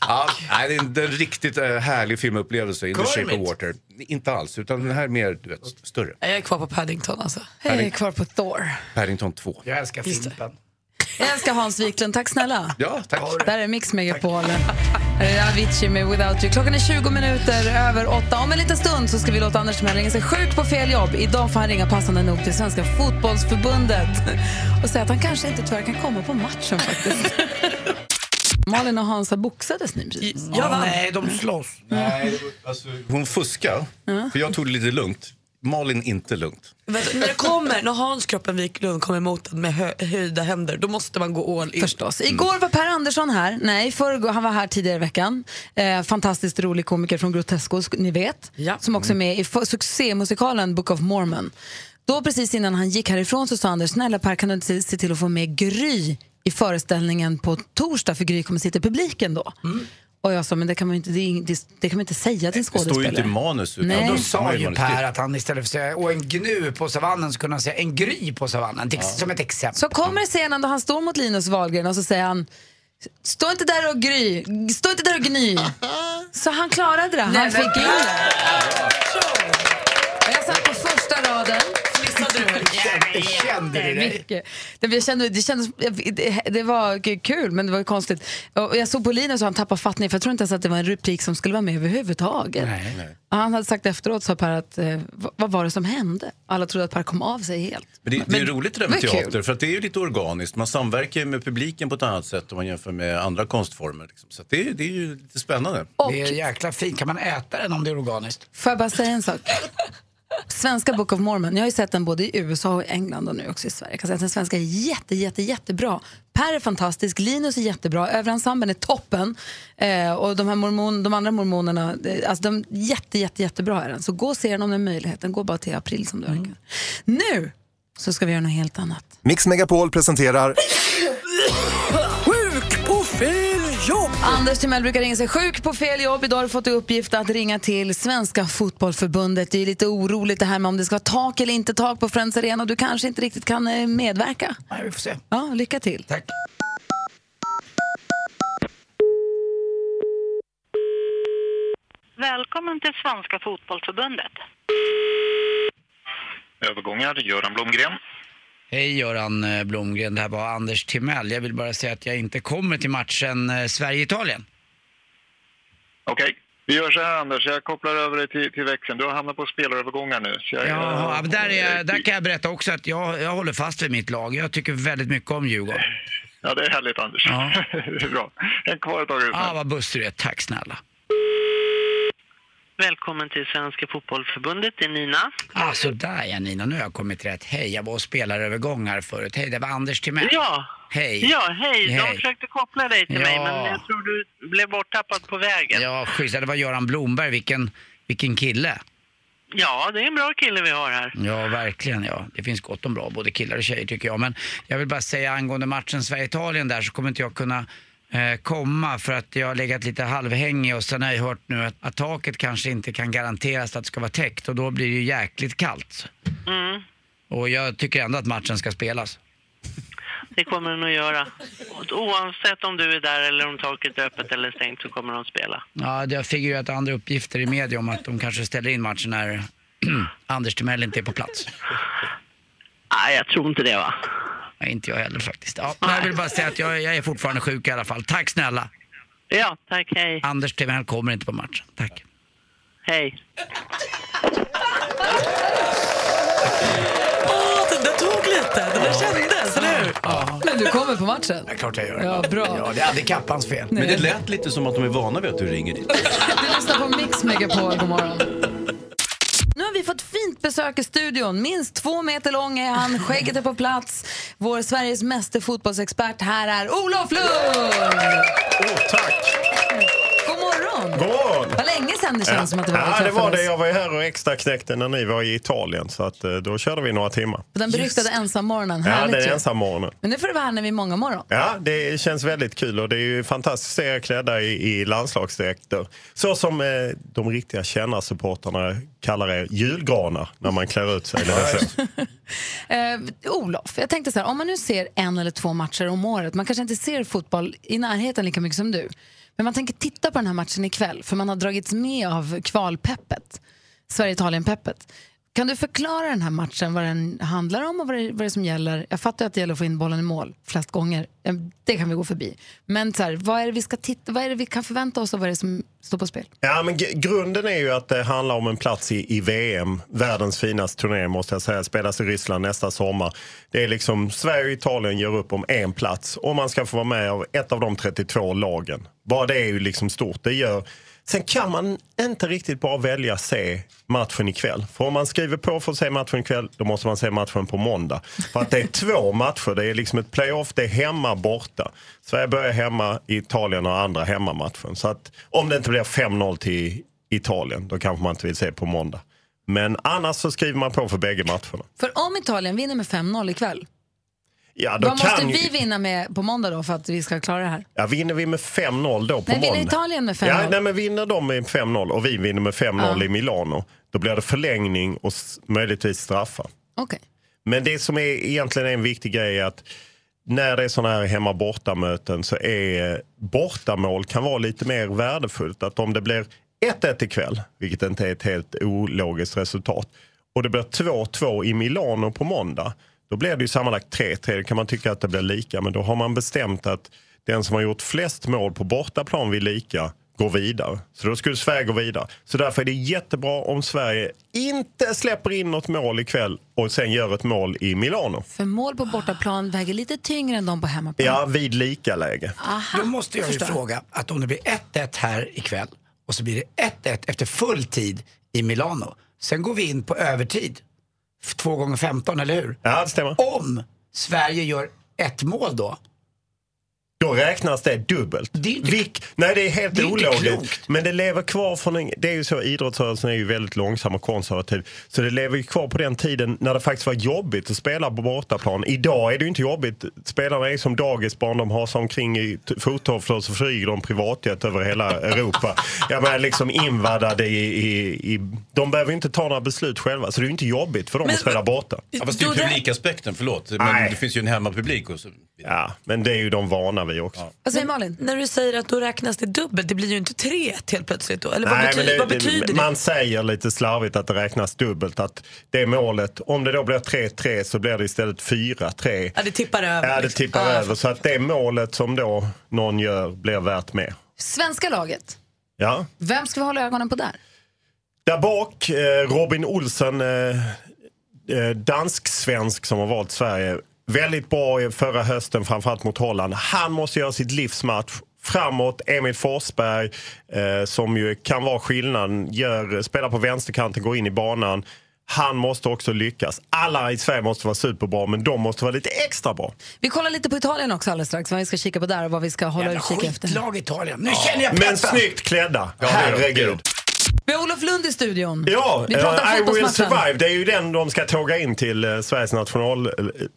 ja, nej, det är en, det är en riktigt eh, härlig filmupplevelse, In the shape of
Kermit.
water. Inte alls, utan den här är mer du vet, större.
Jag är kvar på Paddington alltså.
Jag är kvar på Thor.
Paddington 2.
Jag älskar
Just
Fimpen.
Jag älskar Hans Wiklund, tack snälla.
Ja, tack.
Där är Mix Megapol. Här är Avicii med Without You. Klockan är 20 minuter över åtta. Om en liten stund så ska vi låta Anders Timell ringa sig sjuk på fel jobb. Idag får han ringa passande nog till Svenska Fotbollsförbundet och säga att han kanske inte tyvärr kan komma på matchen faktiskt. Malin och Hansa boxades ni precis?
Nej, de slåss.
Nej, alltså... Hon fuskar, för jag tog det lite lugnt. Malin inte lugnt.
Vet, du, när, det kommer, när Hans Kroppen Wiklund kommer mot den med hö, höjda händer, då måste man gå all in.
Förstås. Igår var Per Andersson här. Nej, förrgår, han var här tidigare i veckan. Eh, fantastiskt rolig komiker från Grotesco, sk- ni vet.
Mm.
Som också är med i f- succémusikalen Book of Mormon. Då precis innan han gick härifrån så sa Anders, snälla Per kan du inte se- se till att få med Gry i föreställningen på torsdag för Gry kommer sitta i publiken då. Och jag sa, men det kan man ju inte, det, är ing- det, det kan man inte säga till en
Mm. Det står ju
skådespelare.
inte i manus. Utan
Nej.
Då
Då
sa ju Per att han istället för att säga och en gnu på savannen så kunde han säga en gry på savannen. till- Som ett exempel.
Så kommer scenen då han står mot Linus Wahlgren och så säger han Stå inte där och gry, stå inte där och gny. Så han klarade det, han
Nej, men-
fick in det. Och jag satt på första raden.
Kände du dig?
Mycket. Det, jag kände, det, kändes, det, det var k- kul, men det var ju konstigt. Och jag såg på Linus och han tappade fattning, för jag tror inte ens att det var en replik som skulle vara med överhuvudtaget. Och Han hade sagt efteråt, sa Per, att, eh, vad, vad var det som hände? Alla trodde att Per kom av sig helt.
Men det, det är roligt det där med
men kul.
teater, för att det är ju lite organiskt. Man samverkar ju med publiken på ett annat sätt om man jämför med andra konstformer. Liksom. Så att det, är- det är ju lite spännande.
Det är jäkla fint. Kan man äta den om det är organiskt?
Får jag bara säga en sak? Svenska Book of Mormon, jag har ju sett den både i USA och i England och nu också i Sverige. Jag kan säga att den svenska är jätte, jätte, jättebra. Per är fantastisk, Linus är jättebra, överensemblen är toppen. Eh, och de, här mormon, de andra mormonerna, eh, alltså de är jätte, jätte, jättebra är den. Så gå och se den om den möjligheten, gå bara till april som du orkar. Nu så ska vi göra något helt annat.
Mix Megapol presenterar
Sjuk på fel jobb! Anders Timell brukar ringa sig sjuk på fel jobb. Idag har du fått i uppgift att ringa till Svenska Fotbollförbundet. Det är lite oroligt det här med om det ska vara tak eller inte tak på Friends Arena. Du kanske inte riktigt kan eh, medverka.
Nej, vi får se.
Ja, lycka till.
Tack.
Välkommen till Svenska Fotbollförbundet.
Övergångar, Göran Blomgren.
Hej Göran eh, Blomgren, det här var Anders Timell. Jag vill bara säga att jag inte kommer till matchen eh, Sverige-Italien.
Okej. Vi gör så här, Anders. Jag kopplar över dig till, till växeln. Du har hamnat på spelarövergångar nu. Så jag,
Ja, men där, är, jag- där kan jag berätta också att jag, jag håller fast vid mitt lag. Jag tycker väldigt mycket om Djurgården.
ja, det är härligt, Anders. det är bra. En kvar tar du ut.
Ja, Ah, vad buss du är. Tack snälla.
Välkommen till Svenska Fotbollförbundet, det är Nina.
Ah, så där ja Nina, nu har jag kommit rätt. Hej, jag var och spelade övergång här förut. Hej, det var Anders Timell.
Ja.
Hej.
Ja, hej. De försökte koppla dig till
Ja.
mig, men jag tror du blev borttappad på vägen.
Ja, schysst. Ja, Det var Göran Blomberg, vilken, vilken kille.
Ja, det är en bra kille vi har här.
Ja, verkligen. Ja. Det finns gott om bra, både killar och tjejer tycker jag. Men jag vill bara säga angående matchen Sverige-Italien där så kommer inte jag kunna eh, komma för att jag har legat lite halvhängig och sen har jag hört nu att, att taket kanske inte kan garanteras att det ska vara täckt och då blir det ju jäkligt kallt.
Mm,
Och jag tycker ändå att matchen ska spelas.
det kommer de att göra. Och Oavsett om du är där eller om taket är öppet eller stängt så kommer de att spela.
Ja, det har figurerat andra uppgifter i media om att de kanske ställer in matchen när Anders Timell inte är på plats.
Nej, jag tror inte det va?
Nej, inte jag heller faktiskt. Ja, men jag vill bara säga att jag, jag är fortfarande sjuk i alla fall. Tack snälla.
Ja, tack. Hej.
Anders Timell kommer inte på matchen. Tack.
Hej.
Åh, den där tog lite. Den där kändes, eller hur?
Men du kommer på matchen?
Ja, klart jag gör.
Ja, bra.
Ja, det är aldrig Kappans fel.
Men det lät lite som att de är vana vid att du ringer dit.
Du lyssnar på Mix Megapol, god morgon. Nu har vi fått fint besök i studion. Minst två meter lång är han, skägget är på plats. Vår Sveriges mäster fotbollsexpert här är Olof Lund!
tack!
God morgon!
God morgon.
Vad länge sedan det känns som att det var vi
Eh, ja, det var det.
träffades.
Jag var ju här och extra knäckte när ni var i Italien så att, eh, då körde vi några timmar.
På den beryktade ensammorgonen.
Ja,
Härligt
det är
ju.
ensammorgonen.
Men nu får du vara här när vi är många morgon.
Ja, det känns väldigt kul och det är ju fantastiskt att se er klädda i, i landslagsdräkter. Så som eh, de riktiga kännarsupportrarna kallar er, julgranar, när man klär ut sig. lite så.
Eh, Olof, jag tänkte så här, om man nu ser en eller två matcher om året, man kanske inte ser fotboll i närheten lika mycket som du, men man tänker titta på den här matchen ikväll, för man har dragits med av kvalpeppet, Sverige-Italien-peppet. Kan du förklara den här matchen, vad den handlar om och vad det, vad det är som gäller? Jag fattar ju att det gäller att få in bollen i mål flest gånger, Eh, det kan vi gå förbi. Men så här, vad, är det vi ska titta, vad är det vi kan förvänta oss och vad är det som står på spel?
Ja, men gr- grunden är ju att det handlar om en plats i, i VM. Världens finaste turnering måste jag säga. Spelas i Ryssland nästa sommar. Det är liksom Sverige och Italien gör upp om en plats. Och man ska få vara med av ett av de 32 lagen. Bara det är ju liksom stort. Det gör... Sen kan man inte riktigt bara välja se matchen ikväll. För om man skriver på för att se matchen ikväll, då måste man se matchen på måndag. För att det är två matcher. Det är liksom ett playoff. Det är hemma, borta. Sverige börjar hemma, Italien har andra hemmamatchen. Så att om det inte blir 5-0 till Italien, då kanske man inte vill se på måndag. Men annars så skriver man på för bägge matcherna.
För om Italien vinner med 5-0 ikväll,
Ja, då
vad måste
kan ju-
vi vinna med på måndag då för att vi ska klara det här?
Ja, vinner vi med 5-0 då på
Nej,
måndag?
vinner Italien med 5-0?
Ja, nej, men vinner de med 5-0 och vi vinner med 5-0
Ja.
i Milano, då blir det förlängning och s- möjligtvis straffar.
Okej.
Men det som är egentligen är en viktig grej är att när det är sådana här hemma bortamöten så är bortamål kan vara lite mer värdefullt. Att om det blir 1-1 ikväll, vilket inte är ett helt ologiskt resultat, och det blir 2-2 i Milano på måndag, då blir det ju sammanlagt 3-3. Då kan man tycka att det blir lika, men då har man bestämt att den som har gjort flest mål på bortaplan vid lika går vidare. Så då skulle Sverige gå vidare. Så därför är det jättebra om Sverige inte släpper in något mål ikväll och sen gör ett mål i Milano.
För mål på bortaplan väger lite tyngre än de på hemmaplan.
Ja, vid lika läge.
Då måste jag ju
förstår.
fråga att om det blir 1-1 här ikväll och så blir det 1-1 efter full tid i Milano. Sen går vi in på övertid. 2 gånger 15, eller hur?
Ja, det stämmer.
Om Sverige gör ett mål då,
Då räknas det dubbelt. Det är inte, nej, det är helt
det är inte
ologiskt.
klokt.
Men det lever kvar från en, Det är ju så, idrottsrörelsen är ju väldigt långsam och konservativ. Så det lever ju kvar på den tiden när det faktiskt var jobbigt att spela på bortaplan. Idag är det ju inte jobbigt. Spelarna är som dagisbarn, de har sig omkring i t- fottofflor så flyger de privatjet över hela Europa. Jag menar liksom invaddade i, i, i... De behöver ju inte ta några beslut själva, så det är ju inte jobbigt för dem att spela borta.
Ja, fast det är ju publikaspekten, förlåt. Men
Nej.
det finns ju en hemmapublik. Och så.
Ja, men det är ju de vana vid också.
Vad säger Malin?
När du säger att då räknas det dubbelt, det blir ju inte 3-1 helt plötsligt då? Eller vad,
Nej,
bety-
men det-
vad betyder det?
Man säger lite slarvigt att det räknas dubbelt. Att det målet, om det då blir 3-3 så blir det istället 4-3.
Ja, det tippar över.
Ja, det
liksom.
tippar
Ja, jag
över. Så att det målet som då någon gör blir värt mer.
Svenska laget,
Ja.
vem ska vi hålla ögonen på där?
Där bak, eh, Robin Olsen, eh, eh, dansk-svensk som har valt Sverige. Väldigt bra i förra hösten, framförallt mot Holland. Han måste göra sitt livsmatch. Framåt, Emil Forsberg, eh, som ju kan vara skillnaden, gör, spelar på vänsterkanten, går in i banan. Han måste också lyckas. Alla i Sverige måste vara superbra, men de måste vara lite extra bra.
Vi kollar lite på Italien också alldeles strax, vad vi ska kika på där och vad vi ska hålla
Jävla
utkik efter.
skitlag Italien. Nu känner jag
Men
peppen!
snyggt klädda,
Ja, det är de, det är de.
herregud.
Vi har Olof Lund i studion.
Ja,
vi pratar
eh, I will
fotbollsmatchen.
survive. Det är ju den de ska tåga in till eh, Sveriges national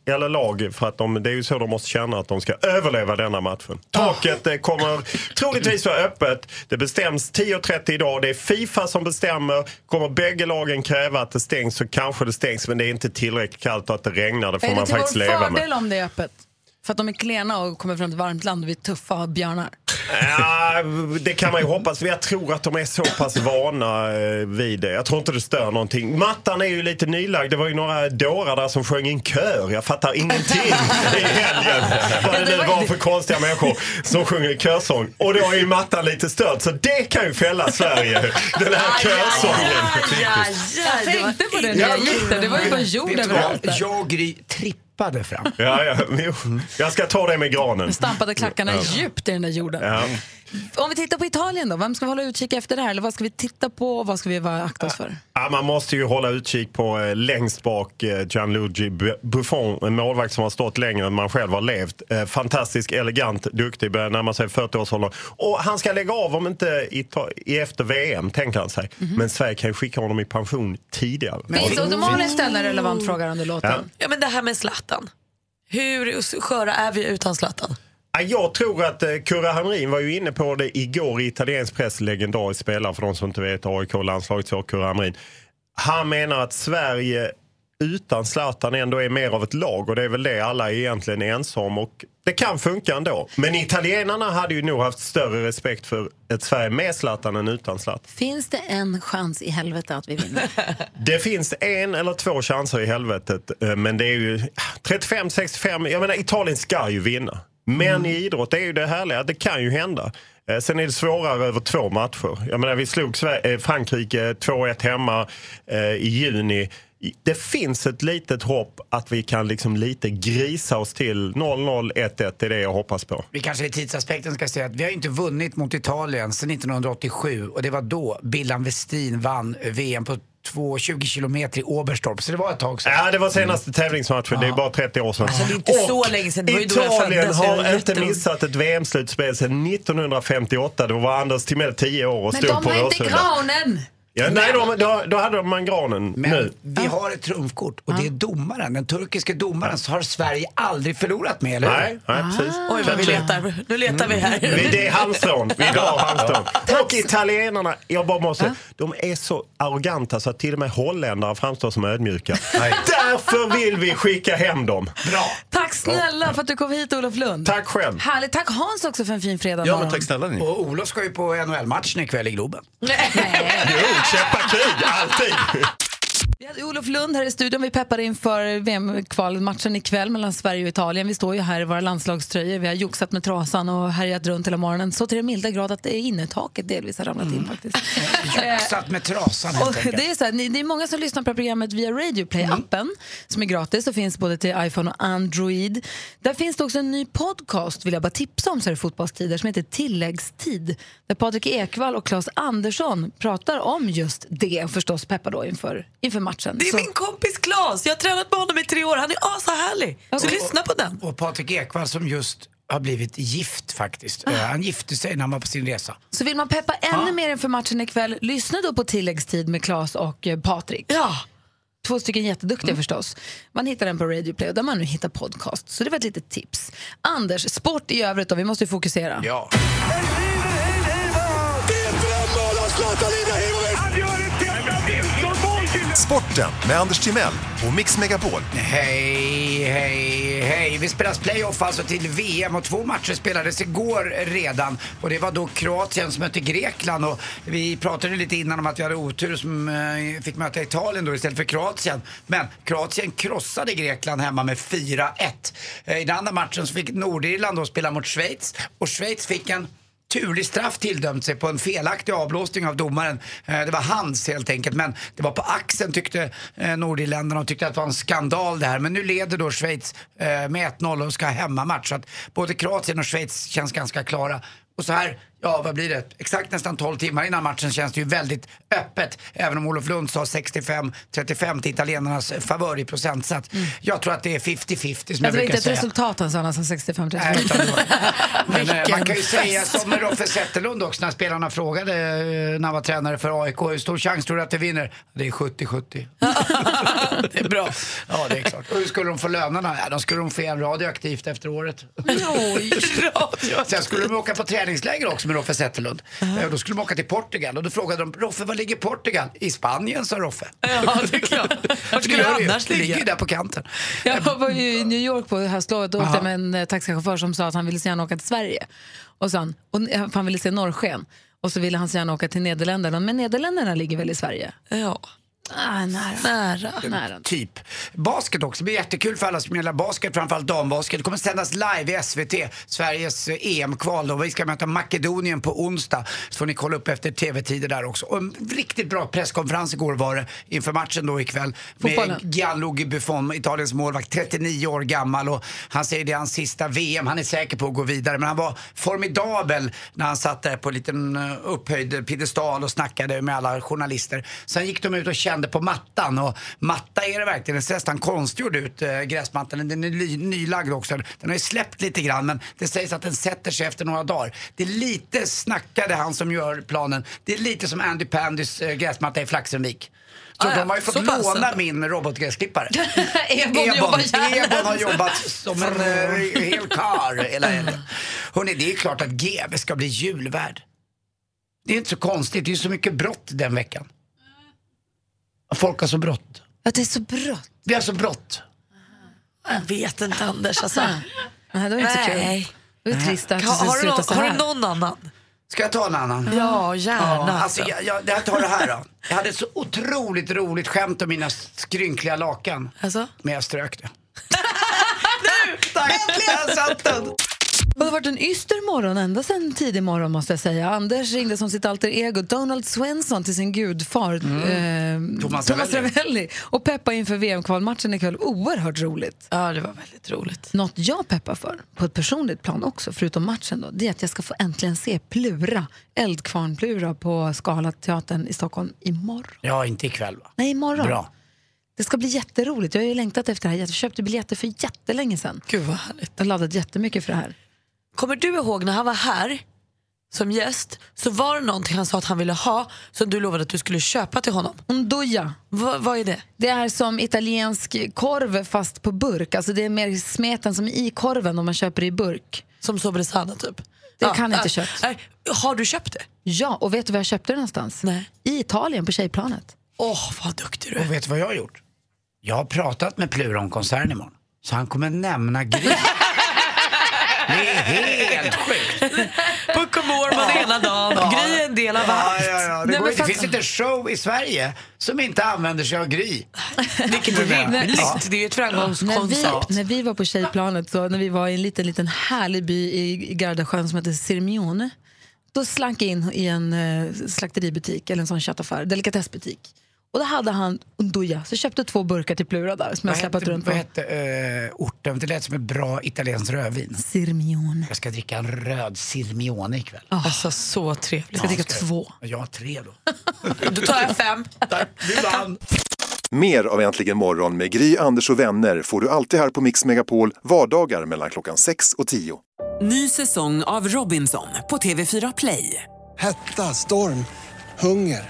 eh, eller lag för att de, det är ju så de måste känna att de ska överleva denna matchen.
Ah.
Taket eh, kommer troligtvis vara öppet. Det bestäms 10.30 idag. Det är Fifa som bestämmer. Kommer bägge lagen kräva att det stängs så kanske det stängs men det är inte tillräckligt kallt och att det regnar. Det får
Är det
man
till
faktiskt
vår
leva
fördel
med.
om det är öppet? För att de är klena och kommer från ett varmt land och vi är tuffa och har björnar.
Ja, det kan man ju hoppas. Jag tror att de är så pass vana eh, vid det. Jag tror inte det stör någonting. Mattan är ju lite nylagd. Det var ju några dårar där som sjöng i en kör. Jag fattar ingenting i helgen. Vad det nu var för konstiga människor som sjunger körsång. Och då är ju mattan lite störd. Så det kan ju fälla Sverige. Den här körsången.
Jag tänkte på det när jag gick där. Det var ju bara jord
Vet du vad?
överallt där.
Jag och Gry trippade fram.
Ja, ja, jo. Jag ska ta det med granen.
Stampade klackarna
Ja.
djupt i den där jorden.
Ja.
Om vi tittar på Italien då, vem ska vi hålla utkik efter det här? Eller vad ska vi titta på och vad ska vi vara akta oss för?
Ja, man måste ju hålla utkik på eh, längst bak eh, Gianluigi Bu- Buffon, en målvakt som har stått längre än man själv har levt. Eh, fantastisk, elegant, duktig, börjar närma sig 40-årsåldern. Och han ska lägga av om inte i, ta- i efter VM, tänker han sig. Men Sverige kan ju skicka honom i pension tidigare.
Finns Mhm. det, de har ställa en relevant fråga under låten.
Ja.
Ja, men det här med Zlatan. Hur sköra är vi utan Zlatan?
Ja, Jag tror att eh, Kurra Hamrin var ju inne på det igår i italiensk press, legendarisk spelare för de som inte vet, AIK landslaget så Kurra Hamrin. Han menar att Sverige utan Zlatan ändå är mer av ett lag och det är väl det alla är egentligen ense om och det kan funka ändå. Men italienarna hade ju nog haft större respekt för ett Sverige med Zlatan än utan Zlatan.
Finns det en chans i helvete att vi vinner?
Det finns en eller två chanser i helvetet. eh, Men det är ju 35-65. Jag menar, Italien ska ju vinna. Men i idrott är ju det härliga. Det kan ju hända. Eh, Sen är det svårare över två matcher. Jag menar, vi slog Sve- eh, Frankrike 2-1 hemma eh, i juni. I- Det finns ett litet hopp att vi kan liksom lite grisa oss till 0-0, 1-1. Det är det jag hoppas på.
Vi kanske i tidsaspekten ska säga att vi har ju inte vunnit mot Italien sedan 1987 och det var då Billan Westin vann VM på 2,20 kilometer i Oberstdorf. Så det var ett tag sedan.
Ja, det var senaste tävlingsmatchen. Det är bara 30 år sedan.
Alltså,
det är inte så
länge sedan. Det var ju då jag
Italien
föddes. Jag
har
är
inte
jätteung.
missat ett VM-slutspel sedan 1958. Då var Anders Timell 10 år och
Men
stod
de
på
har inte
Råsunda.
kranen!
Ja, nej, då, då, då hade man granen
Men
nu.
vi har ett trumfkort och det är domaren, den turkiske domaren, så har Sverige aldrig förlorat med, eller hur?
Nej, nej, precis.
Ah.
Oj, vad vi letar. Nu letar vi här.
Vi- Det är halmstrån. Vi drar halmstrån. Och italienarna, jag bara måste,
Ah.
de är så arroganta så att till och med holländare framstår som ödmjuka. Därför vill vi skicka hem dem. Bra.
Tack snälla för att du kom hit Olof Lund.
Tack själv.
Härligt, tack Hans också för en fin fredag morgon.
snälla ni.
Och Olof ska ju på NHL-matchen ikväll i Globen.
Jo, kämpa krig, alltid.
Vi hade Olof Lund här i studion. Vi peppade inför VM-kvalmatchen ikväll mellan Sverige och Italien. Vi står ju här i våra landslagströjor. Vi har joxat med trasan och härjat runt hela morgonen. Så till den milda grad att det är innertaket delvis har ramlat in faktiskt.
Satt med trasan
Eh, Och
helt enkelt.
det, är så här, ni- det är många som lyssnar på det här programmet via
Mm.
Radioplay-appen som är gratis och finns både till iPhone och Android. Där finns det också en ny podcast, vill jag bara tipsa om, så här i fotbollstider som heter Tilläggstid. Där Patrik Ekwall och Claes Andersson pratar om just det och förstås peppar då inför, inför matchen.
Det är
Så-
min kompis Claes. Jag har tränat med honom i tre år. Han är ashärlig. Så lyssna på den.
Och Patrik Ekwall som just har blivit gift faktiskt.
Ah.
Eh, Han gifte sig när han var på sin resa.
Så vill man peppa ännu mer inför matchen ikväll, lyssna då på tilläggstid med Claes och eh, Patrik.
Ja.
Två stycken
Mm.
jätteduktiga förstås. Man hittar den på Radio Play och där man nu hittar podcast. Så det var ett litet tips. Anders, sport i övrigt då, vi måste ju fokusera.
Ja.
Sporten med Anders Timell och Mix Megapol.
Hej, hej, hej. Vi spelas playoff alltså till VM och två matcher spelades igår redan. Och det var då Kroatien som mötte Grekland och vi pratade lite innan om att vi hade otur som eh, fick möta Italien då istället för Kroatien. Men Kroatien krossade Grekland hemma med 4-1. Eh, I den andra matchen så fick Nordirland då spela mot Schweiz och Schweiz fick en turlig straff tilldömt sig på en felaktig avblåsning av domaren. Eh, Det var hans helt enkelt, men det var på axeln tyckte eh, Nordirländarna och tyckte att det var en skandal det här. Men nu leder då Schweiz eh, med 1-0 och ska ha hemmamatch. Så att både Kroatien och Schweiz känns ganska klara. Och så här, ja vad blir det? Exakt nästan 12 timmar innan matchen känns det ju väldigt öppet. Även om Olof Lund sa 65-35 till italienarnas favör i procentsats. Jag tror att det är 50-50 som
Alltså,
jag
det är
brukar
inte ett
säga.
resultat han sa, han sa 65
Nej, utan det var- Men, eh,
Vilken
man kan ju säga
fest.
som med Roffe Zetterlund också när spelarna frågade eh, när han var tränare för AIK. Hur stor chans tror du att vi vinner? Det är 70-70. det är bra. Ja, det är klart. Och hur skulle de få lönerna? Ja, de skulle de få igen radioaktivt efter året. Sen skulle de åka på träningsläger också med Roffe Zetterlund. Eh, Då skulle de åka till Portugal och då frågade de Roffe, var ligger Portugal? I Spanien, sa Roffe.
Ja, det är klart. Vart skulle det annars
ligga? Det ligger ju
ligga?
där på kanten.
Jag var ju i New York på höstlovet och åkte
Aha.
med en eh, taxichaufför som sa att han ville så gärna åka till Sverige. Och, så han, och eh, för han ville se norrsken. Och så ville han så gärna åka till Nederländerna, men Nederländerna ligger väl i Sverige?
Ja.
Ah, nära.
Ja,
Nära. nära.
Typ. Basket också. Det blir jättekul för alla som gillar basket, framförallt dambasket. Det kommer sändas live i SVT, Sveriges eh, EM-kval. Då. Vi ska möta Makedonien på onsdag. Så får ni kolla upp efter TV-tider där också. Och en riktigt bra presskonferens igår var det inför matchen då ikväll.
Fotbollen.
Med Gianluigi Buffon, Italiens målvakt, 39 år gammal. Och han säger det är hans sista VM. Han är säker på att gå vidare. Men han var formidabel när han satt där på en liten eh, upphöjd piedestal och snackade med alla journalister. Sen gick de ut och kände på mattan och matta är det verkligen. Den ser nästan konstgjord ut, eh, gräsmattan. Den är ny, nylagd också. Den har ju släppt lite grann men det sägs att den sätter sig efter några dagar. Det är lite, snackade han som gör planen, det är lite som Andy Pandys eh, gräsmatta i Flaxenvik. Så
Ah, ja.
de har ju fått
Så pass
låna
ändå.
min robotgräsklippare.
Ebon jobbar gärna.
Ebon har jobbat som en eh, hel karl hela helgen. Hörrni, det är klart att GB ska bli julvärd. Det är inte så konstigt, det är så mycket brott den veckan. Folk har så brott.
Att det är så brått.
Vi har så brott.
Jag vet inte Anders alltså.
Nej, det var inte så kul.
Nej.
Det var trist att det
Har, har, du
slutar
någon,
så
har
här.
du någon annan?
Ska jag ta en annan?
Ja, gärna.
alltså, jag, jag, jag tar det här då. Jag hade ett så otroligt roligt skämt om mina skrynkliga lakan.
Alltså?
Men jag strök det. Äntligen satt den!
Och det har varit en yster morgon ända sedan tidig morgon måste jag säga. Anders ringde som sitt alter ego Donald Svensson till sin gudfar eh,
Mm. Thomas Ravelli.
Ravelli och peppa inför VM-kvalmatchen ikväll. Oerhört roligt.
Ja, det var väldigt roligt.
Något jag peppar för, på ett personligt plan också, förutom matchen då, det är att jag ska få äntligen se Plura, Eldkvarn-Plura på Skala teatern i Stockholm imorgon.
Ja, inte ikväll va?
Nej, imorgon.
Bra.
Det ska bli jätteroligt. Jag har ju längtat efter det här. Jag köpte biljetter för jättelänge sedan.
Gud vad härligt.
Jag har laddat jättemycket för det här.
Kommer du ihåg när han var här som gäst så var det någonting han sa att han ville ha som du lovade att du skulle köpa till honom.
Ndoja.
Va, vad är det?
Det är som italiensk korv fast på burk. Alltså det är mer smeten som är i korven om man köper det i burk.
Som sobresada typ?
Det
Ja,
kan inte
äh,
kött.
äh, har du köpt det?
Ja, och vet du var jag köpte det någonstans?
Nej.
I Italien på tjejplanet.
Åh, vad duktig du
Och vet du vad jag har gjort? Jag har pratat med Plura om konserten imorgon. Så han kommer nämna Gry. Det är helt sjukt.
Puck och Mormon ena dagen, Gry är en del av
ja,
allt.
ja, ja. Det,
Nej,
går, ju-
men
det
fast-
finns inte en show i Sverige som inte använder sig av Gry.
Vilket är rimligt. Det är ju ett
När vi,
framgångskoncept.
när vi var på tjejplanet, så, när vi var i en liten, liten härlig by i i Gardasjön som heter Sirmione, då slank jag in i en eh, slakteributik, eller en sån köttaffär, delikatessbutik. Och då hade han undoja, så jag köpte två burkar till Plura där som jag
Vad
släpat
hette,
runt
vad
på.
hette eh, orten? Det lät som ett bra italienskt rödvin.
Sirmione.
Jag ska dricka en röd Sirmione ikväll.
Alltså så trevligt.
Ja, jag.
två.
Jag har tre då.
Då tar jag fem.
Du vann!
Mer av Äntligen morgon med Gry, Anders och vänner får du alltid här på Mix Megapol vardagar mellan klockan 6 och 10.
Ny säsong av Robinson på TV4 Play.
Hetta, storm, hunger.